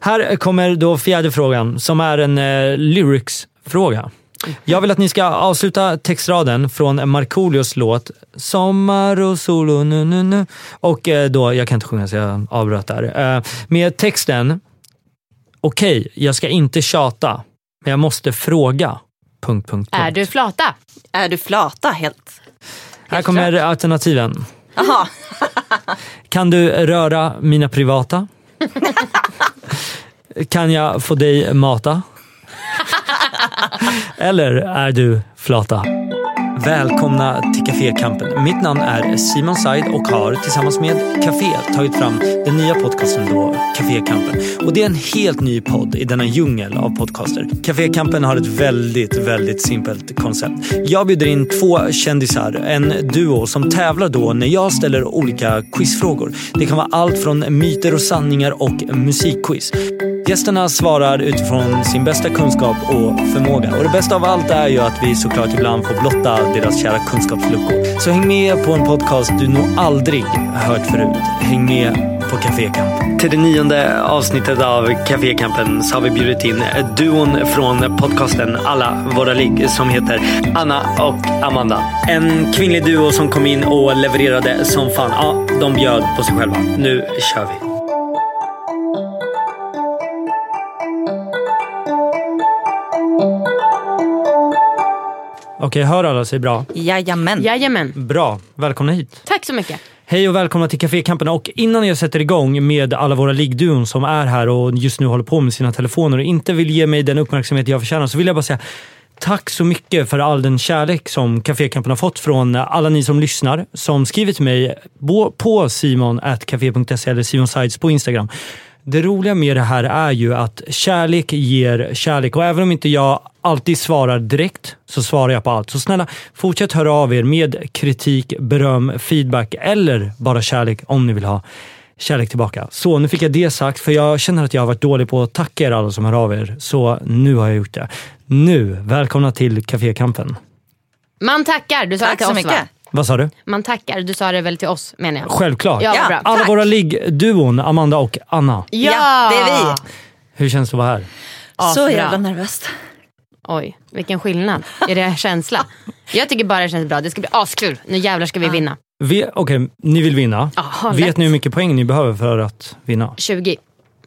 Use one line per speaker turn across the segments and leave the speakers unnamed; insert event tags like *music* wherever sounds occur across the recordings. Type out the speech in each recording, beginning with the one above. Här kommer då fjärde frågan som är en eh, lyrics-fråga. Jag vill att ni ska avsluta textraden från Markoolios låt Sommar och sol och nu, nu, nu. Och eh, då, jag kan inte sjunga så jag avbröt där. Eh, Med texten Okej, jag ska inte tjata, men jag måste fråga. Punkt, punkt, punkt.
Är du flata?
Är du flata helt?
Här kommer alternativen.
Jaha,
Kan du röra mina privata? kan jag få dig mata? Eller är du flata? Välkomna till Cafékampen. Mitt namn är Simon Said och har tillsammans med Café tagit fram den nya podcasten då, Cafékampen. Och det är en helt ny podd i denna djungel av podcaster. Cafékampen har ett väldigt, väldigt simpelt koncept. Jag bjuder in två kändisar, en duo som tävlar då när jag ställer olika quizfrågor. Det kan vara allt från myter och sanningar och musikquiz. Gästerna svarar utifrån sin bästa kunskap och förmåga. Och det bästa av allt är ju att vi såklart ibland får blotta deras kära kunskapsluckor. Så häng med på en podcast du nog aldrig hört förut. Häng med på Café Camp. Till det nionde avsnittet av Café Campen så har vi bjudit in duon från podcasten Alla våra ligg som heter Anna och Amanda. En kvinnlig duo som kom in och levererade som fan. Ja, de bjöd på sig själva. Nu kör vi. Okej, hör alla sig bra?
jajamän.
Mm. Jajamän.
Bra, välkomna hit.
Tack så mycket.
Hej och välkomna till Cafékampen. Och innan jag sätter igång med alla våra liggduon som är här och just nu håller på med sina telefoner och inte vill ge mig den uppmärksamhet jag förtjänar så vill jag bara säga Tack så mycket för all den kärlek som Cafékampen har fått från alla ni som lyssnar, som skriver till mig bo- på simon.café.se eller simonsides på Instagram. Det roliga med det här är ju att kärlek ger kärlek och även om inte jag alltid svarar direkt så svarar jag på allt. Så snälla, fortsätt höra av er med kritik, beröm, feedback eller bara kärlek om ni vill ha kärlek tillbaka. Så nu fick jag det sagt för jag känner att jag har varit dålig på att tacka er alla som hör av er. Så nu har jag gjort det. Nu, välkomna till Cafékampen.
Man tackar. Du sa det
Tack
till
så
oss
mycket.
va?
Vad sa du?
Man tackar. Du sa det väl till oss menar jag.
Självklart.
Ja,
Ja.
bra.
alla
tack.
våra liggduon, Amanda och Anna.
Ja, det är vi.
Hur känns det att vara här?
Så
Asbra.
jävla nervöst.
Oj, vilken skillnad. Är det känsla? Jag tycker bara det känns bra. Det ska bli askul. Nu jävlar ska vi vinna.
Vi- Okej, ni vill vinna.
Aha,
Vet
lätt.
ni hur mycket poäng ni behöver för att vinna?
20.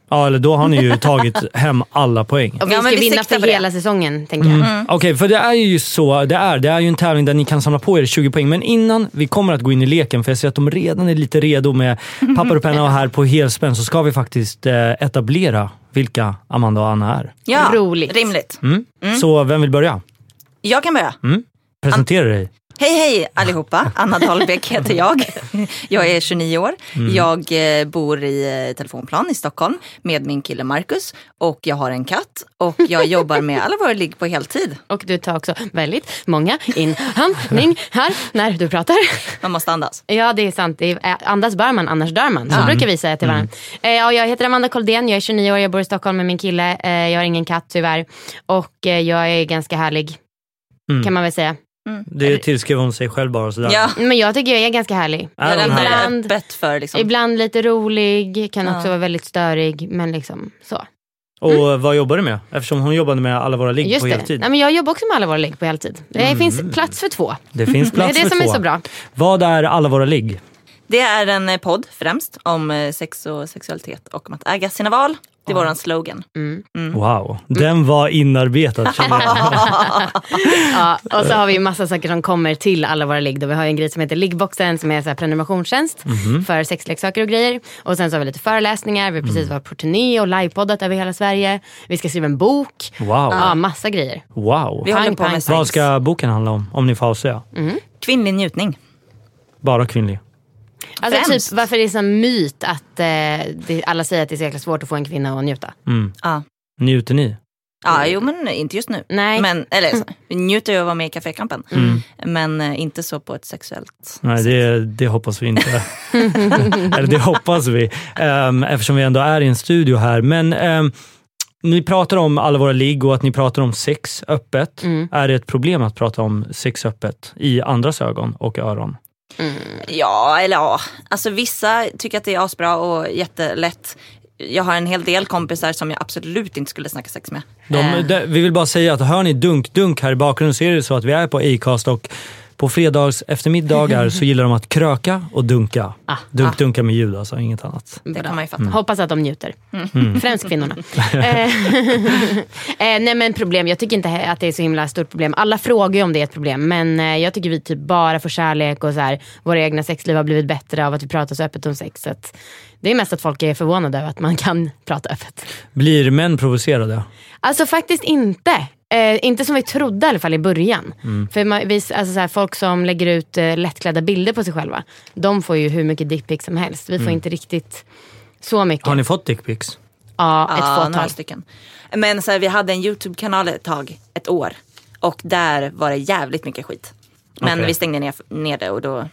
Ja, eller då har ni
*laughs*
ju tagit hem alla poäng.
Och vi
Ja, men
ska
vi
vinna
siktar
för
på det. Mm.
hela säsongen tänker jag.
Okej, för det är ju så det är. Det är ju en tävling där ni kan samla på er 20 poäng. Men innan vi kommer att gå in i leken, för jag ser att de redan är lite redo
*laughs*
med papper och penna och här på helspänn, så ska vi faktiskt eh, etablera vilka Amanda och Anna är.
Ja,
Roligt.
Rimligt.
Mm? Så vem vill börja?
Jag kan börja.
Presentera dig.
Hej hej allihopa, Anna Dahlbäck heter jag. Jag är 29 år. Jag eh, bor i eh, telefonplan i Stockholm med min kille Marcus och jag har en katt och jag jobbar med alla våra ligg på heltid.
Och du tar också väldigt många inandning här när du pratar.
Man måste andas.
Ja det är sant. Det är, eh, andas bör man, annars dör man. Så brukar vi säga till varandra.
Mm.
Eh, ja, jag heter Amanda Koldén, jag är 29 år, jag bor i Stockholm med min kille. Eh, jag har ingen katt tyvärr. Och eh, jag är ganska härlig.
Mm.
Kan man väl säga.
Det tillskriver hon sig själv bara sådär.
Ja,
Men jag tycker jag är ganska härlig.
Är
jag
hon
här?
lämnar
Ibland.
det öppet för liksom.
Ibland lite rolig, kan
Ja.
också vara väldigt störig. Men liksom så.
Och vad jobbar du med? Eftersom hon jobbade med alla våra ligg
Just
på
det.
heltid.
Nej, men jag jobbar också med alla våra ligg på heltid. Det finns plats för två.
Det finns plats
*laughs* det
för
är det som
två.
är så bra.
Vad är alla våra ligg?
Det är en eh, podd främst om eh, sex och sexualitet och om att äga sina val. Det är våran slogan.
Mm.
Wow, den var inarbetad känner jag.
Ja, och så har vi ju massa saker som kommer till alla våra ligg. då. Vi har ju en grej som heter liggboxen som är så här prenumerationstjänst för sexleksaker och grejer. Och sen så har vi lite föreläsningar, vi har precis varit på turné och livepoddat över hela Sverige. Vi ska skriva en bok.
Wow.
Ja, massa grejer.
Wow.
*laughs* Vi
Pang,
håller på
pang.
med
Vad
sex.
ska boken handla om? Om ni får avslöja.
Mm.
Kvinnlig njutning.
Bara kvinnlig.
Alltså
Främst.
typ varför det är en sån myt att eh, det, alla säger att det är så jäkla svårt att få en kvinna att njuta.
Ja.
Njuter Mm. ni?
Ja, jo men inte just nu.
Nej. Mm.
Men, eller så, vi njuter ju av att vara med i Cafékampen.
Mm.
Men eh, inte så på ett sexuellt
Nej, det, det hoppas vi inte. Eller det hoppas vi. ehm, eftersom vi ändå är i en studio här. Men ehm, ni pratar om alla våra ligg och att ni pratar om sex öppet. Är det ett problem att prata om sex öppet i andras ögon och öron?
Ja, eller ja. Alltså vissa tycker att det är asbra och jättelätt. jag har en hel del kompisar som jag absolut inte skulle snacka sex med.
De,
Ehm.
Eh,
de, vi vill bara säga att hör ni dunk-dunk här i bakgrunden så är det så att vi är på Acast och på fredags eftermiddagar så gillar de att kröka och dunka.
Ah,
Dunk-dunka med ljud alltså, inget annat.
det
Bra.
kan man ju fatta.
Mm.
Hoppas att de njuter. Främst kvinnorna. Mm. *laughs* eh, eh, nej men problem, jag tycker inte he- att det är så himla stort problem. Alla frågar ju om det är ett problem men eh, jag tycker vi typ bara får kärlek och så här, våra egna sexliv har blivit bättre av att vi pratar så öppet om sex. Så att, det är mest att folk är förvånade över att man kan *laughs* prata öppet.
Blir män provocerade?
Alltså faktiskt inte. Eh, inte som vi trodde i alla fall i början. För man, vi, alltså, så här, folk som lägger ut eh, lättklädda bilder på sig själva, de får ju hur mycket dickpics som helst. Vi får inte riktigt så mycket.
Har ni fått dickpics?
Ja, ett
ja, några
fåtal.
stycken. Men så här, vi hade en YouTube-kanal ett tag, ett år. Och där var det jävligt mycket skit. Men
Okej.
vi stängde ner, ner det och då,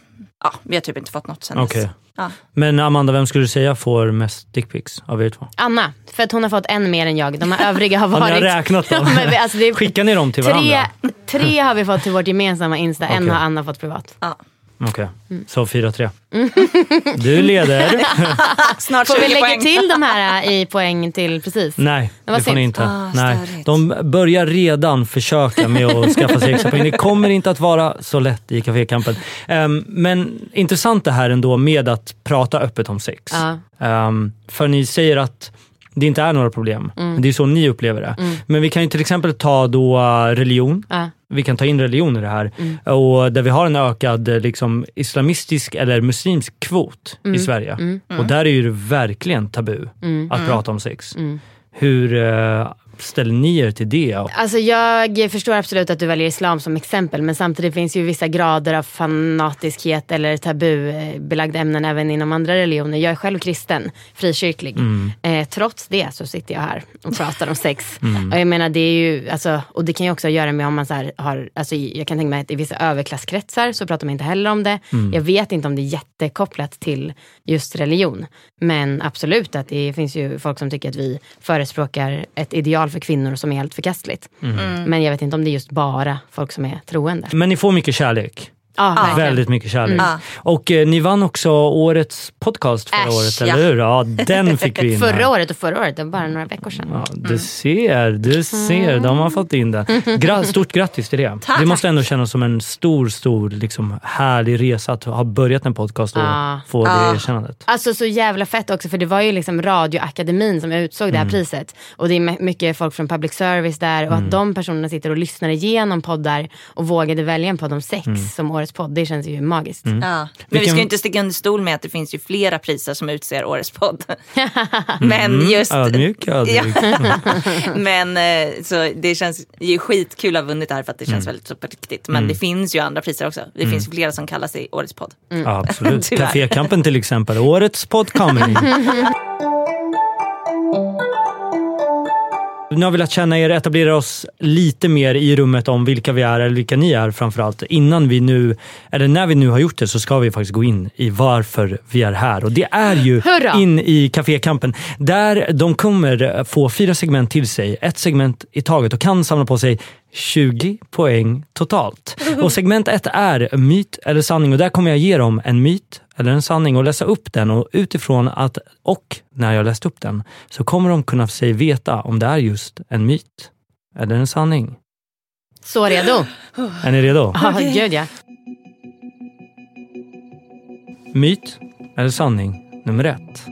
ja, vi har typ inte fått något sen
Okej.
dess. Ja.
Men Amanda, vem skulle du säga får mest dickpics av er två?
Anna, för att hon har fått en mer än jag. De här övriga
*laughs*
har
Har
varit...
ni räknat
*laughs* Ja,
dem?
men vi- alltså, det är
Skickar ni dem till
tre,
varandra?
tre har vi fått till vårt gemensamma Insta, en
Okej.
har Anna fått privat.
Ja.
Okej,
Mm.
så
*laughs*
4-3. Du leder.
Snart
Får
20
vi lägga
poäng.
till de här äh, i poäng till precis?
Nej,
Men vad
det får ni
synd.
inte.
Ah,
Nej.
störigt.
De börjar redan försöka med att skaffa sig extra poäng. Det kommer inte att vara så lätt i Cafékampen. Ehm, men intressant det här ändå med att prata öppet om sex.
Ja.
Ehm, för ni säger att det inte är några problem. Men det är så ni upplever det. Men vi kan ju till exempel ta då eh, religion.
Ja.
Vi kan ta in religion i det här.
Mm.
Och där vi har en ökad eh, liksom, islamistisk eller muslimsk kvot
Mm.
i Sverige. Och där är ju det verkligen tabu att
Mm.
prata om sex. Hur eh, ställer ni er till det?
Alltså jag förstår absolut att du väljer islam som exempel men samtidigt finns ju vissa grader av fanatiskhet eller tabubelagda ämnen även inom andra religioner. Jag är själv kristen, frikyrklig.
Mm.
Eh, trots det så sitter jag här och pratar om sex.
Mm.
Och jag menar det är ju, alltså, och det kan ju också ha att göra med om man så här har, alltså, jag kan tänka mig att i vissa överklasskretsar så pratar man inte heller om det.
Mm.
Jag vet inte om det är jättekopplat till just religion. Men absolut att det finns ju folk som tycker att vi förespråkar ett ideal för kvinnor som är helt förkastligt.
Mm.
Men jag vet inte om det är just bara folk som är troende.
Men ni får mycket kärlek.
Ja, verkligen.
Mm. Väldigt mycket kärlek.
Mm. Ja.
Och eh, ni vann också årets podcast förra
Äsch,
året,
ja.
eller hur? Ja, den fick
*laughs*
vi in. här.
Förra året och förra året, det var bara några veckor sedan.
Ja, du
Mm.
ser, du ser. De har fått in
*laughs*
den. Gra- stort grattis till det. Det måste ändå kännas som en stor, stor liksom, härlig resa att ha börjat en podcast och
Ja.
få det
Ja.
erkännandet.
Alltså så jävla fett också för det var ju liksom radioakademin som utsåg det
Mm.
här priset. Och det är my- mycket folk från public service där och att de personerna sitter och lyssnar igenom poddar och vågade välja en podd om sex
Mm.
som årets podd. Det känns ju magiskt.
Ja. Men vi
Vilken-
ska ju inte sticka under stol med att det finns ju flera priser som utser
*laughs*
årets podd. men just,
Mm. Ödmjuk, ödmjuk.
*laughs* men eh, så det känns ju skitkul att ha vunnit det här för att det
Mm.
känns väldigt så på riktigt. Men det finns ju andra priser också. Det finns ju flera som kallar sig årets podd.
Ja, absolut.
Mm. *laughs* Tyvärr.
Cafékampen till exempel. Årets podcomedy.
*laughs*
Nu har vi lärt känna er, etablera oss lite mer i rummet om vilka vi är, eller vilka ni är framförallt. Innan vi nu, eller när vi nu har gjort det, så ska vi faktiskt gå in i varför vi är här. Och det är ju
Hurra!
in i Cafékampen. Där de kommer få fyra segment till sig, ett segment i taget och kan samla på sig 20 poäng totalt. Och segment ett är myt eller sanning och där kommer jag ge dem en myt eller en sanning och läsa upp den och utifrån att och när jag läst upp den så kommer de kunna sig veta om det är just en myt eller en sanning. *laughs*
Så redo?
Är ni redo?
Ja, gud ja.
Myt eller sanning nummer ett.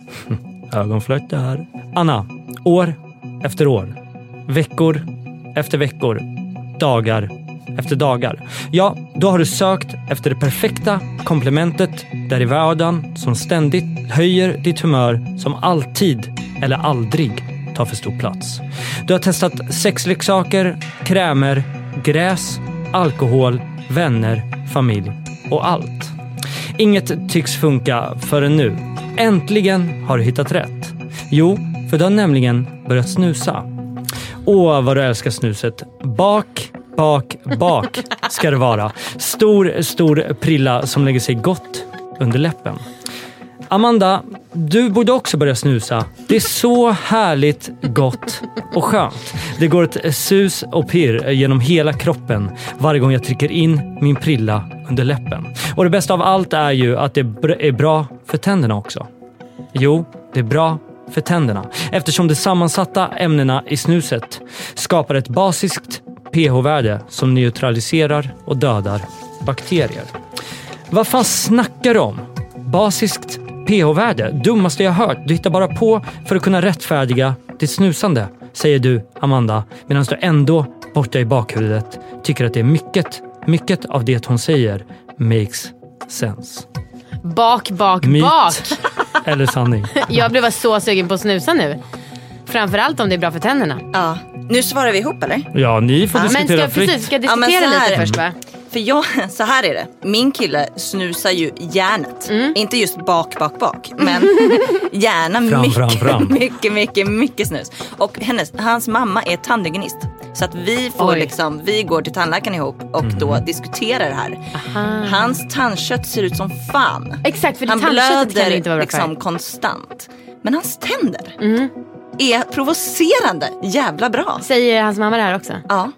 *laughs* Ögonflöjt det här. Anna, år efter år. Veckor efter veckor. Dagar efter dagar. Ja, då har du sökt efter det perfekta komplementet där i vardagen som ständigt höjer ditt humör som alltid eller aldrig tar för stor plats. Du har testat sexleksaker, krämer, gräs, alkohol, vänner, familj och allt. Inget tycks funka förrän nu. Äntligen har du hittat rätt. Jo, för du har nämligen börjat snusa. Åh, vad du älskar snuset. Bak, bak, bak ska det vara. Stor, stor prilla som lägger sig gott under läppen. Amanda, du borde också börja snusa. Det är så härligt, gott och skönt. Det går ett sus och pirr genom hela kroppen varje gång jag trycker in min prilla under läppen. Och det bästa av allt är ju att det br- är bra för tänderna också. Jo, det är bra för tänderna eftersom de sammansatta ämnena i snuset skapar ett basiskt pH-värde som neutraliserar och dödar bakterier. Vad fan snackar du om? Basiskt pH-värde? Dummaste jag hört. Du hittar bara på för att kunna rättfärdiga ditt snusande, säger du, Amanda, medan du ändå borta i bakhuvudet tycker att det är mycket, mycket av det hon säger makes sense.
Bak, bak,
Myt
bak.
*laughs* eller sanning?
Jag blev bara så sugen på att snusa nu. Framförallt om det är bra för tänderna.
Ja. Nu svarar vi ihop eller?
Ja, ni får
Ja,
Men
diskutera
ska,
fritt.
precis, ska
Ja, men
diskutera
så här.
lite först va?
För jag, så här är det. Min kille snusar ju järnet.
Mm.
Inte just bak,
*laughs*
bak, bak. Men gärna
Fram,
mycket,
fram, fram.
*laughs* mycket, mycket, mycket snus. Och hennes, hans mamma är tandhygienist. Så att vi, får
Oj.
liksom, vi går till tandläkaren ihop och
Mhm.
då diskuterar det här. Hans tandkött ser ut som fan.
Exakt, för
Han
tandköttet kan ju inte vara Mm.
blöder
bra
liksom
för.
konstant. Men hans tänder är provocerande jävla bra.
Säger hans mamma det här också?
Ja.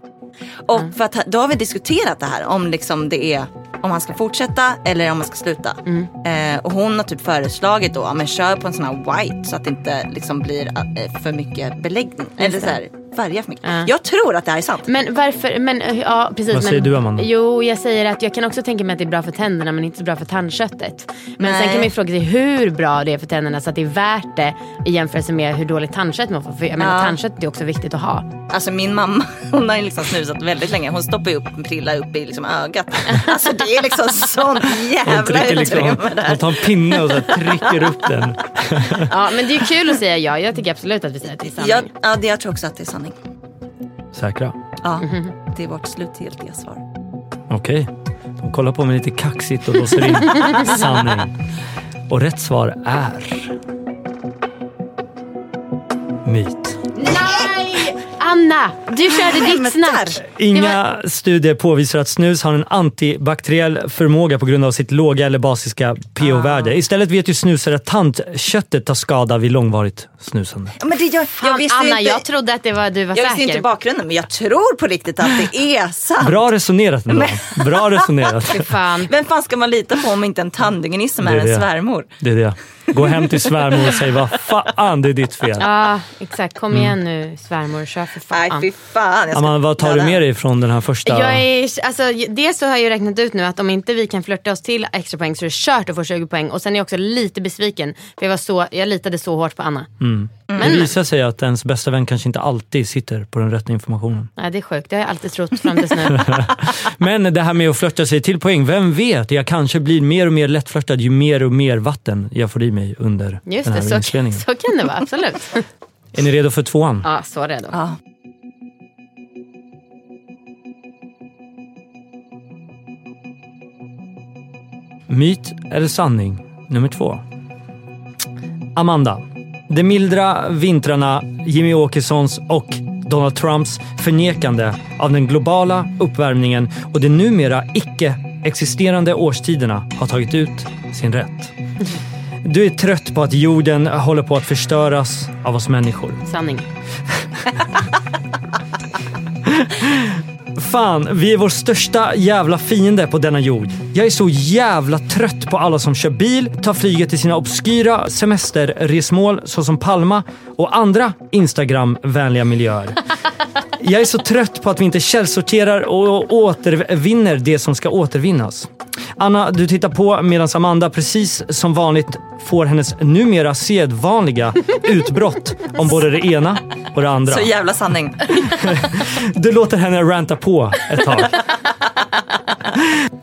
Och för att, då har vi diskuterat det här om liksom det är om han ska fortsätta eller om han ska sluta.
Mm.
Eh, och hon har typ föreslagit då, ja, men kör på en sån här white så att det inte liksom blir eh, för mycket beläggning. Eller så här, färga för mycket. Jag tror att det här är sant.
Men varför, men eh, ja precis.
Vad
men,
säger du, Amanda?
Jo jag säger att jag kan också tänka mig att det är bra för tänderna men inte så bra för tandköttet. Men
Nej.
sen kan man ju fråga sig hur bra det är för tänderna så att det är värt det i jämförelse med hur dåligt tandkött man får. För jag menar
Ja.
tandkött är också viktigt att ha.
Alltså min mamma, *laughs* hon har ju liksom snusat väldigt länge. Hon stoppar ju upp en prilla upp i liksom ögat. Alltså det
*laughs*
är liksom sånt
Hon
jävla
trycker liksom,
utrymme där.
hon tar en pinne och så här trycker upp den.
Ja men det är ju kul att säga ja. Jag tycker absolut att vi säger att det är sanning.
Jag, ja, det, jag tror också att det är sanning.
Säkra?
Ja,
Mm-hmm.
det är vårt slutgiltiga svar.
Okej. De kollar på mig lite kaxigt och låser
*laughs*
in sanning. Och rätt svar är... Myt.
Nej! Anna, du körde ditt snack.
Inga studier påvisar att snus har en antibakteriell förmåga på grund av sitt låga eller basiska
Ah.
pH-värde. Istället vet ju snusare att tandköttet tar skada vid långvarigt snusande.
Ja, Men det, jag, jag
Fan,
visste ju
Anna,
inte...
jag trodde att det var, du var
Jag visste
säker.
inte bakgrunden men jag tror på riktigt att det är sant.
Bra resonerat ändå. Bra
*laughs*
resonerat.
Fan.
Vem fan ska man lita på om inte en tandhygienist som
Det
är,
är
en
det.
svärmor?
Det är det. Gå hem till svärmor och säg vad fan, det är ditt fel.
Ja, exakt.
Mm.
Kom igen nu svärmor, kör för
Nej
fan.
fy fan. Jag ska
Amanda, vad tar du
döda
med dig från den här första?
Jag är, alltså, dels så har jag ju räknat ut nu att om inte vi kan flirta oss till extra poäng så är det kört att få 20 poäng. Och sen är jag också lite besviken för jag, var så, jag litade så hårt på Anna.
Mm. Det visar sig att ens bästa vän kanske inte alltid sitter på den rätta informationen.
Nej, det är sjukt, det har jag alltid trott fram
*laughs*
tills nu. Ah.
Men det här med att flörta sig till poäng, vem vet? Jag kanske blir mer och mer lättflörtad ju mer och mer vatten jag får i mig under
Just
den här
det, så,
inspelningen.
så kan det vara, absolut.
Är ni redo för tvåan?
*laughs* Ja, så redo.
Ja.
Myt eller sanning nummer två. Amanda. De mildra vintrarna, Jimmy Åkessons och Donald Trumps förnekande av den globala uppvärmningen och de numera icke existerande årstiderna har tagit ut sin rätt. Du är trött på att jorden håller på att förstöras av oss människor.
Sanning.
Fan, vi är vår största jävla fiende på denna jord. Jag är så jävla trött på alla som kör bil, tar flyget till sina obskyra semesterresmål såsom Palma och andra Instagram-vänliga miljöer. Jag är så trött på att vi inte källsorterar och återvinner det som ska återvinnas. Anna, du tittar på medan Amanda precis som vanligt får hennes numera sedvanliga utbrott om både det ena och det andra.
Så jävla
*laughs*
sanning.
Du låter henne ranta på ett tag.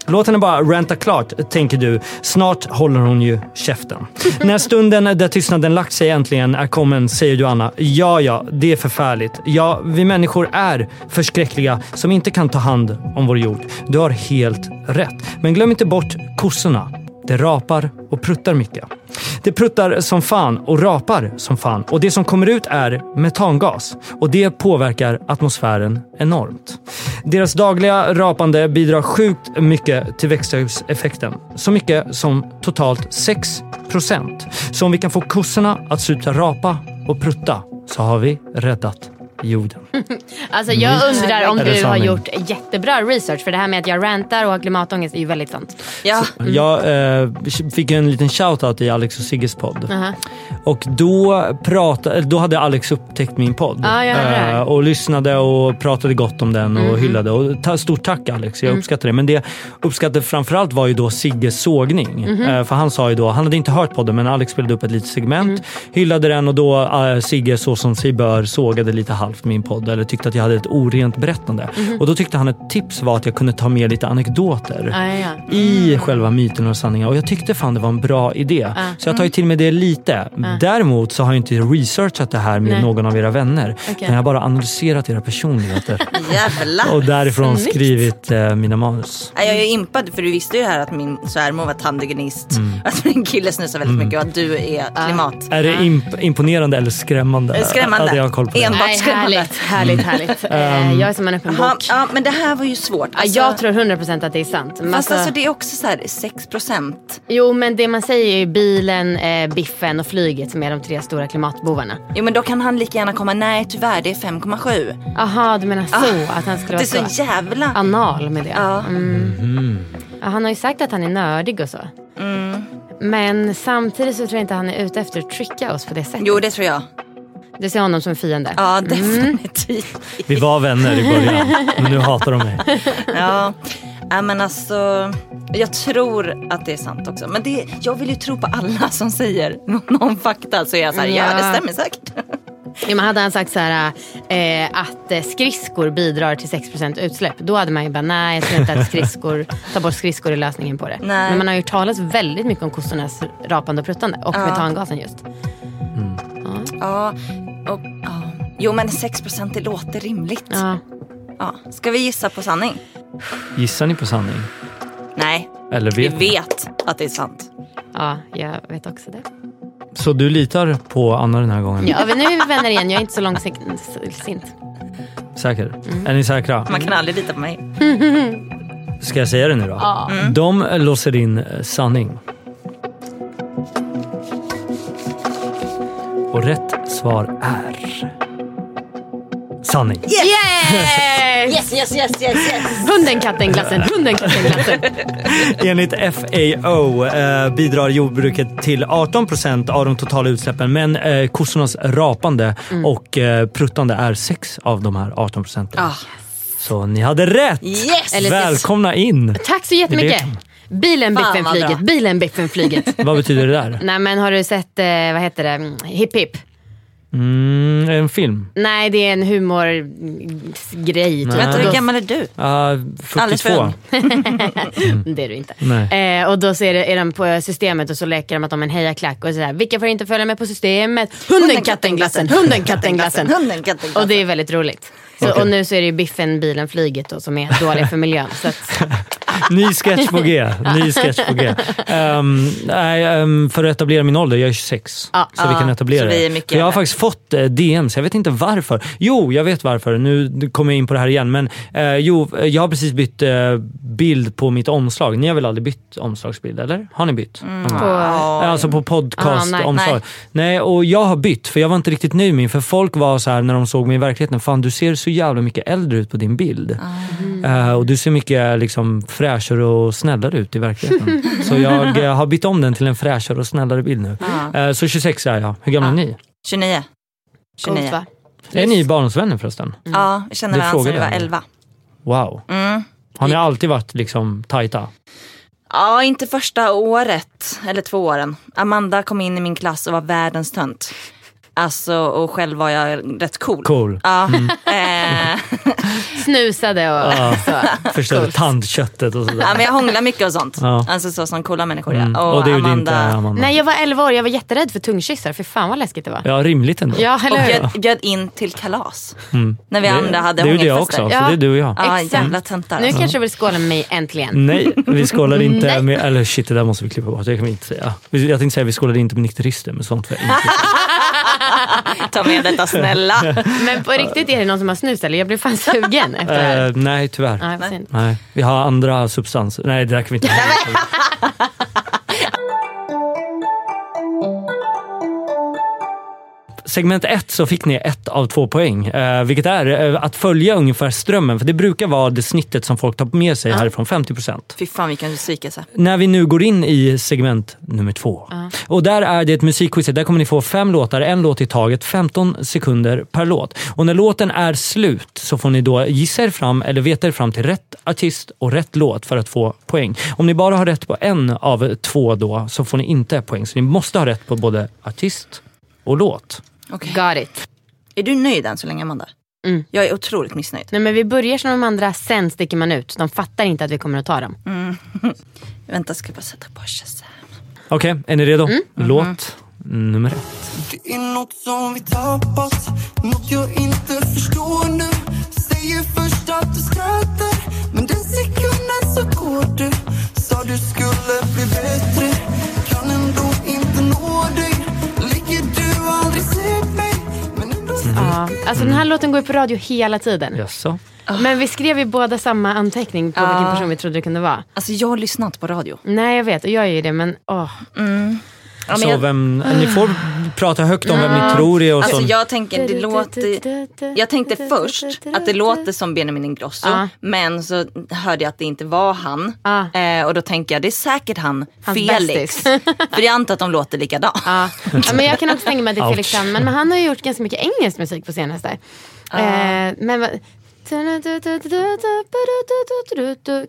Låt henne bara ranta klart, tänker du. Snart håller hon ju käften. När stunden där tystnaden lagt sig äntligen är kommen säger du Anna, ja ja, det är förfärligt. Ja, vi människor är förskräckliga som inte kan ta hand om vår jord. Du har helt rätt. Men glöm inte bort kossorna. Det rapar och pruttar mycket. Det pruttar som fan och rapar som fan. Och det som kommer ut är metangas. Och det påverkar atmosfären enormt. Deras dagliga rapande bidrar sjukt mycket till växthuseffekten. Så mycket som totalt 6 procent. Så om vi kan få kossorna att sluta rapa och prutta så har vi räddat jorden.
Alltså jag undrar om
Mm. Är det
du har
sanning?
gjort jättebra research. För det här med att jag rantar och har klimatångest är ju väldigt sant.
Ja,
Mm.
Jag eh, fick ju en liten shoutout i Alex och Sigges podd.
Aha.
Och då, pratade, då hade Alex upptäckt min podd.
Ja, jag hörde det här. Mhm.
Eh, och lyssnade och pratade gott om den och hyllade. Och ta, stort tack Alex,
Mm.
jag uppskattar det. Men det jag uppskattade framförallt var ju då Sigges sågning.
Mhm.
Eh, för han sa ju då, han hade inte hört podden men Alex spelade upp ett litet segment.
Mm.
Hyllade den och då eh, Sigge så som sig bör sågade lite halvt min podd. Eller tyckte att jag hade ett orent berättande.
Mhm.
Och då tyckte han ett tips var att jag kunde ta med lite anekdoter
Ja, ja, ja.
i själva myten och sanningen. Och jag tyckte fan det var en bra idé. Så jag tar ju till mig det lite. Däremot så har jag inte researchat det här med
Nej.
någon av era vänner.
Okej.
Utan jag har bara analyserat era personligheter.
jävlar.
och därifrån
Snyggt.
skrivit eh, mina manus.
Nej, Jag är ju impad för du visste ju här att min svärmor var tandhygienist.
Mm.
Att min kille snusar väldigt mycket och att du är klimat.
Är det imp- imponerande eller skrämmande?
Skrämmande.
Att jag har koll på det.
Enbart
Nej,
skrämmande.
härligt, härligt, härligt.
Mm.
Eh, jag är som en öppen
Ja,
bok.
ja, men det här var ju svårt. Alltså,
Ja, jag tror 100% att det är sant. Men
Fast
alltså-
alltså det är också så här 6 procent.
Jo, men det man säger är ju bilen, eh, biffen och flyget som är de tre stora klimatbovarna.
Jo men då kan han lika gärna komma, nej tyvärr det är 5,7.
Aha, du menar så? Att han skulle
Ah, Det är
vara
så
så,
jävla...
anal med det? Mm.
Ja.
Ja, han har ju sagt att han är nördig och så.
Mm.
Men samtidigt så tror jag inte han är ute efter att tricka oss på det sättet.
Jo det tror jag.
Du ser honom som en fiende.
Ja definitivt.
Vi var vänner i början, men nu hatar de mig.
Ja. ja, men alltså. Jag tror att det är sant också. Men det, jag vill ju tro på alla som säger *laughs* någon fakta. Så är jag så här, ja,
Ja.
det stämmer säkert.
Jo, men hade han sagt så här, eh, att eh, skridskor bidrar till 6% utsläpp, då hade man ju bara, nej jag tror inte att
*laughs*
skridskor, ta bort skridskor är lösningen på det.
Nej.
Men man har ju talat väldigt mycket om kossornas rapande och pruttande och metangasen just.
Ja, och, ja. Jo men 6 det låter rimligt. Ja.
Ja.
Ska vi gissa på sanning?
Gissar ni på sanning?
Nej,
Eller
vi
vet ni?
vet att det är sant.
ja, jag vet också det.
Så du litar på Anna den här gången?
Ja, men nu är vi vänner igen, jag är inte så långsint.
Säker? Är ni säkra?
Man
Mm.
kan aldrig lita på mig.
Ska jag säga det nu då?
Mm.
De låser in eh, sanning. Och rätt svar är... Sanning.
Yes! *laughs*
Yes, yes, yes, yes, yes.
Hunden, katten, glassen, hunden, katten, glassen.
*laughs* Enligt FAO eh, bidrar jordbruket till 18 procent av de totala utsläppen men eh, kossornas rapande
Mm.
och eh, pruttande är 6 av de här 18 procenten.
Ah.
Så ni hade rätt!
Yes!
Eller-
Välkomna in!
Tack så jättemycket. Bilen,
Fan,
biffen,
vad
flyget.
bra.
Bilen, biffen, *laughs* flyget.
Vad betyder det
*laughs*
där?
Mm.
Nej men har du sett, eh, vad heter det, Mm, Hipp Hipp?
Mm, en film?
Nej det är en humorgrej typ.
Vänta,
Och
hur
då-
gammal är du?
Ah,
Alldeles för
42.
ung.
Det är du inte.
Nej.
Eh, och då så är, det, är de på systemet och så leker de att de är en hejaklack och sådär. Vilka får inte följa med på systemet? Hunden, katten, glassen. Hunden, katten, glassen.
Hunden, katten,
Och
glassen.
det är väldigt roligt. Så,
Alltså. Okej.
Och nu så är det ju biffen, bilen, flyget då, som är dåliga för miljön.
*laughs*
Så att,
Ny sketch på G. Ny sketch på G. Ehm, nej, ehm, för att etablera min ålder, jag är 26.
Ja.
så vi kan
Ja,
etablera
så
det.
vi är mycket
För jag har
äldre.
faktiskt fått eh, DMs, jag vet inte varför. Jo, jag vet varför. Nu kommer jag in på det här igen. Men eh, jo, eh, jag har precis bytt eh, bild på mitt omslag. Ni har väl aldrig bytt omslagsbild, eller? Har ni bytt? Mm.
på,
Ja.
Alltså på
Ah, nej,
podcastomslag. nej, och jag har bytt för jag var inte riktigt nöjd med min. För folk var så här när de såg mig i verkligheten, fan du ser så jävla mycket äldre ut på din bild. Eh, och du ser mycket liksom, fräschare och snällare ut i
*laughs*
verkligheten. så jag eh, har bytt om den till en fräschare och snällare bild nu.
Ja.
Eh, så 26 är jag. Hur gamla
Ah,
är ni?
29.
coolt,
29.
va? Mm.
Är ni barndomsvänner förresten?
Ja, jag känner
Du
varandra sedan vi
frågade
var
henne.
11.
Wow.
Mm.
Har ni alltid varit liksom tajta?
Ja, inte första året, eller två åren. Amanda kom in i min klass och var världens tönt. Alltså, och själv var jag rätt cool. *laughs*
Cool. Mm.
Ja, eh,
Snusade och så.
Förstörde tandköttet och sådär.
ja, men jag hånglar mycket och sånt.
Ja.
Alltså så som coola människor är.
Mm.
Och,
Och det gjorde
Amanda...
inte Amanda.
Nej jag var 11 år, jag var jätterädd för tungkyssar. För fan vad läskigt det var.
Ja, rimligt ändå.
Ja, eller
Och
hur?
bjöd, bjöd in till kalas.
Mm.
När vi andra hade
Det gjorde jag också,
hångelfester.
så det är du och jag.
Ja,
Exakt.
jävla töntar.
Nu
alltså.
kanske du vill skåla med mig äntligen.
Nej, vi skålade inte med... Eller shit, det där måste vi klippa bort. Det kan vi inte säga. Vi- Jag tänkte säga vi skålade inte med nykterister, men sånt var inte.
Mm.
Ta
*laughs*
med detta snälla.
Men på riktigt, är det någon som har snus eller? Jag blir fan sugen efter det här.
Eh, nej, tyvärr.
Ja, jag får se.
Nej, vi har andra substanser. Nej, det där kan vi inte segment ett så fick ni ett av två poäng. eh, Vilket är eh, att följa ungefär strömmen. För det brukar vara det snittet som folk tar med sig härifrån, 50 procent.
Fy fan vilken besvikelse.
När vi nu går in i segment nummer två. Och där är det ett musikquiz. Där kommer ni få fem låtar, en låt i taget, 15 sekunder per låt. Och när låten är slut så får ni då gissa er fram eller veta er fram till rätt artist och rätt låt för att få poäng. Om ni bara har rätt på en av två då så får ni inte poäng. Så ni måste ha rätt på både artist och låt.
Okej.
Got it.
Är du nöjd än så länge Amanda?
Mm.
Jag är otroligt missnöjd.
Nej, men vi börjar som de andra, sen sticker man ut. De fattar inte att vi kommer att ta dem.
Mm.
Vänta ska jag bara sätta på Shazam.
Okej, är ni redo?
Mm.
Låt nummer ett.
Det är något som vi tappat, något jag inte förstår nu Säger först att du skrattar, men den sekunden så går du Sa du skulle bli bättre, kan ändå inte nå dig Ligger du aldrig sett mig, men ändå
Ja. Alltså den
Mm.
här låten går ju på radio hela tiden. Oh.
Jaså?
Men vi skrev ju båda samma anteckning på vilken person vi trodde det kunde vara.
Alltså jag har lyssnat på radio.
Nej jag vet, och jag gör ju det men åh.
Ja, men
Så
jag,
vem, ni får prata högt om vem ni tror är och
alltså
sånt.
jag tänker det låter... Jag tänkte först att det låter som Benjamin Ingrosso
Ja.
men så hörde jag att det inte var han.
Ja.
Eh, och då tänker jag det är säkert han,
Hans
Felix.
bästis.
*laughs* För jag antar att de låter likadant.
Ja. ja, men jag kan också tänka mig att det är Felix
Ouch.
Sandman. Men han har ju gjort ganska mycket engelsk musik på senaste. Eh, men vad...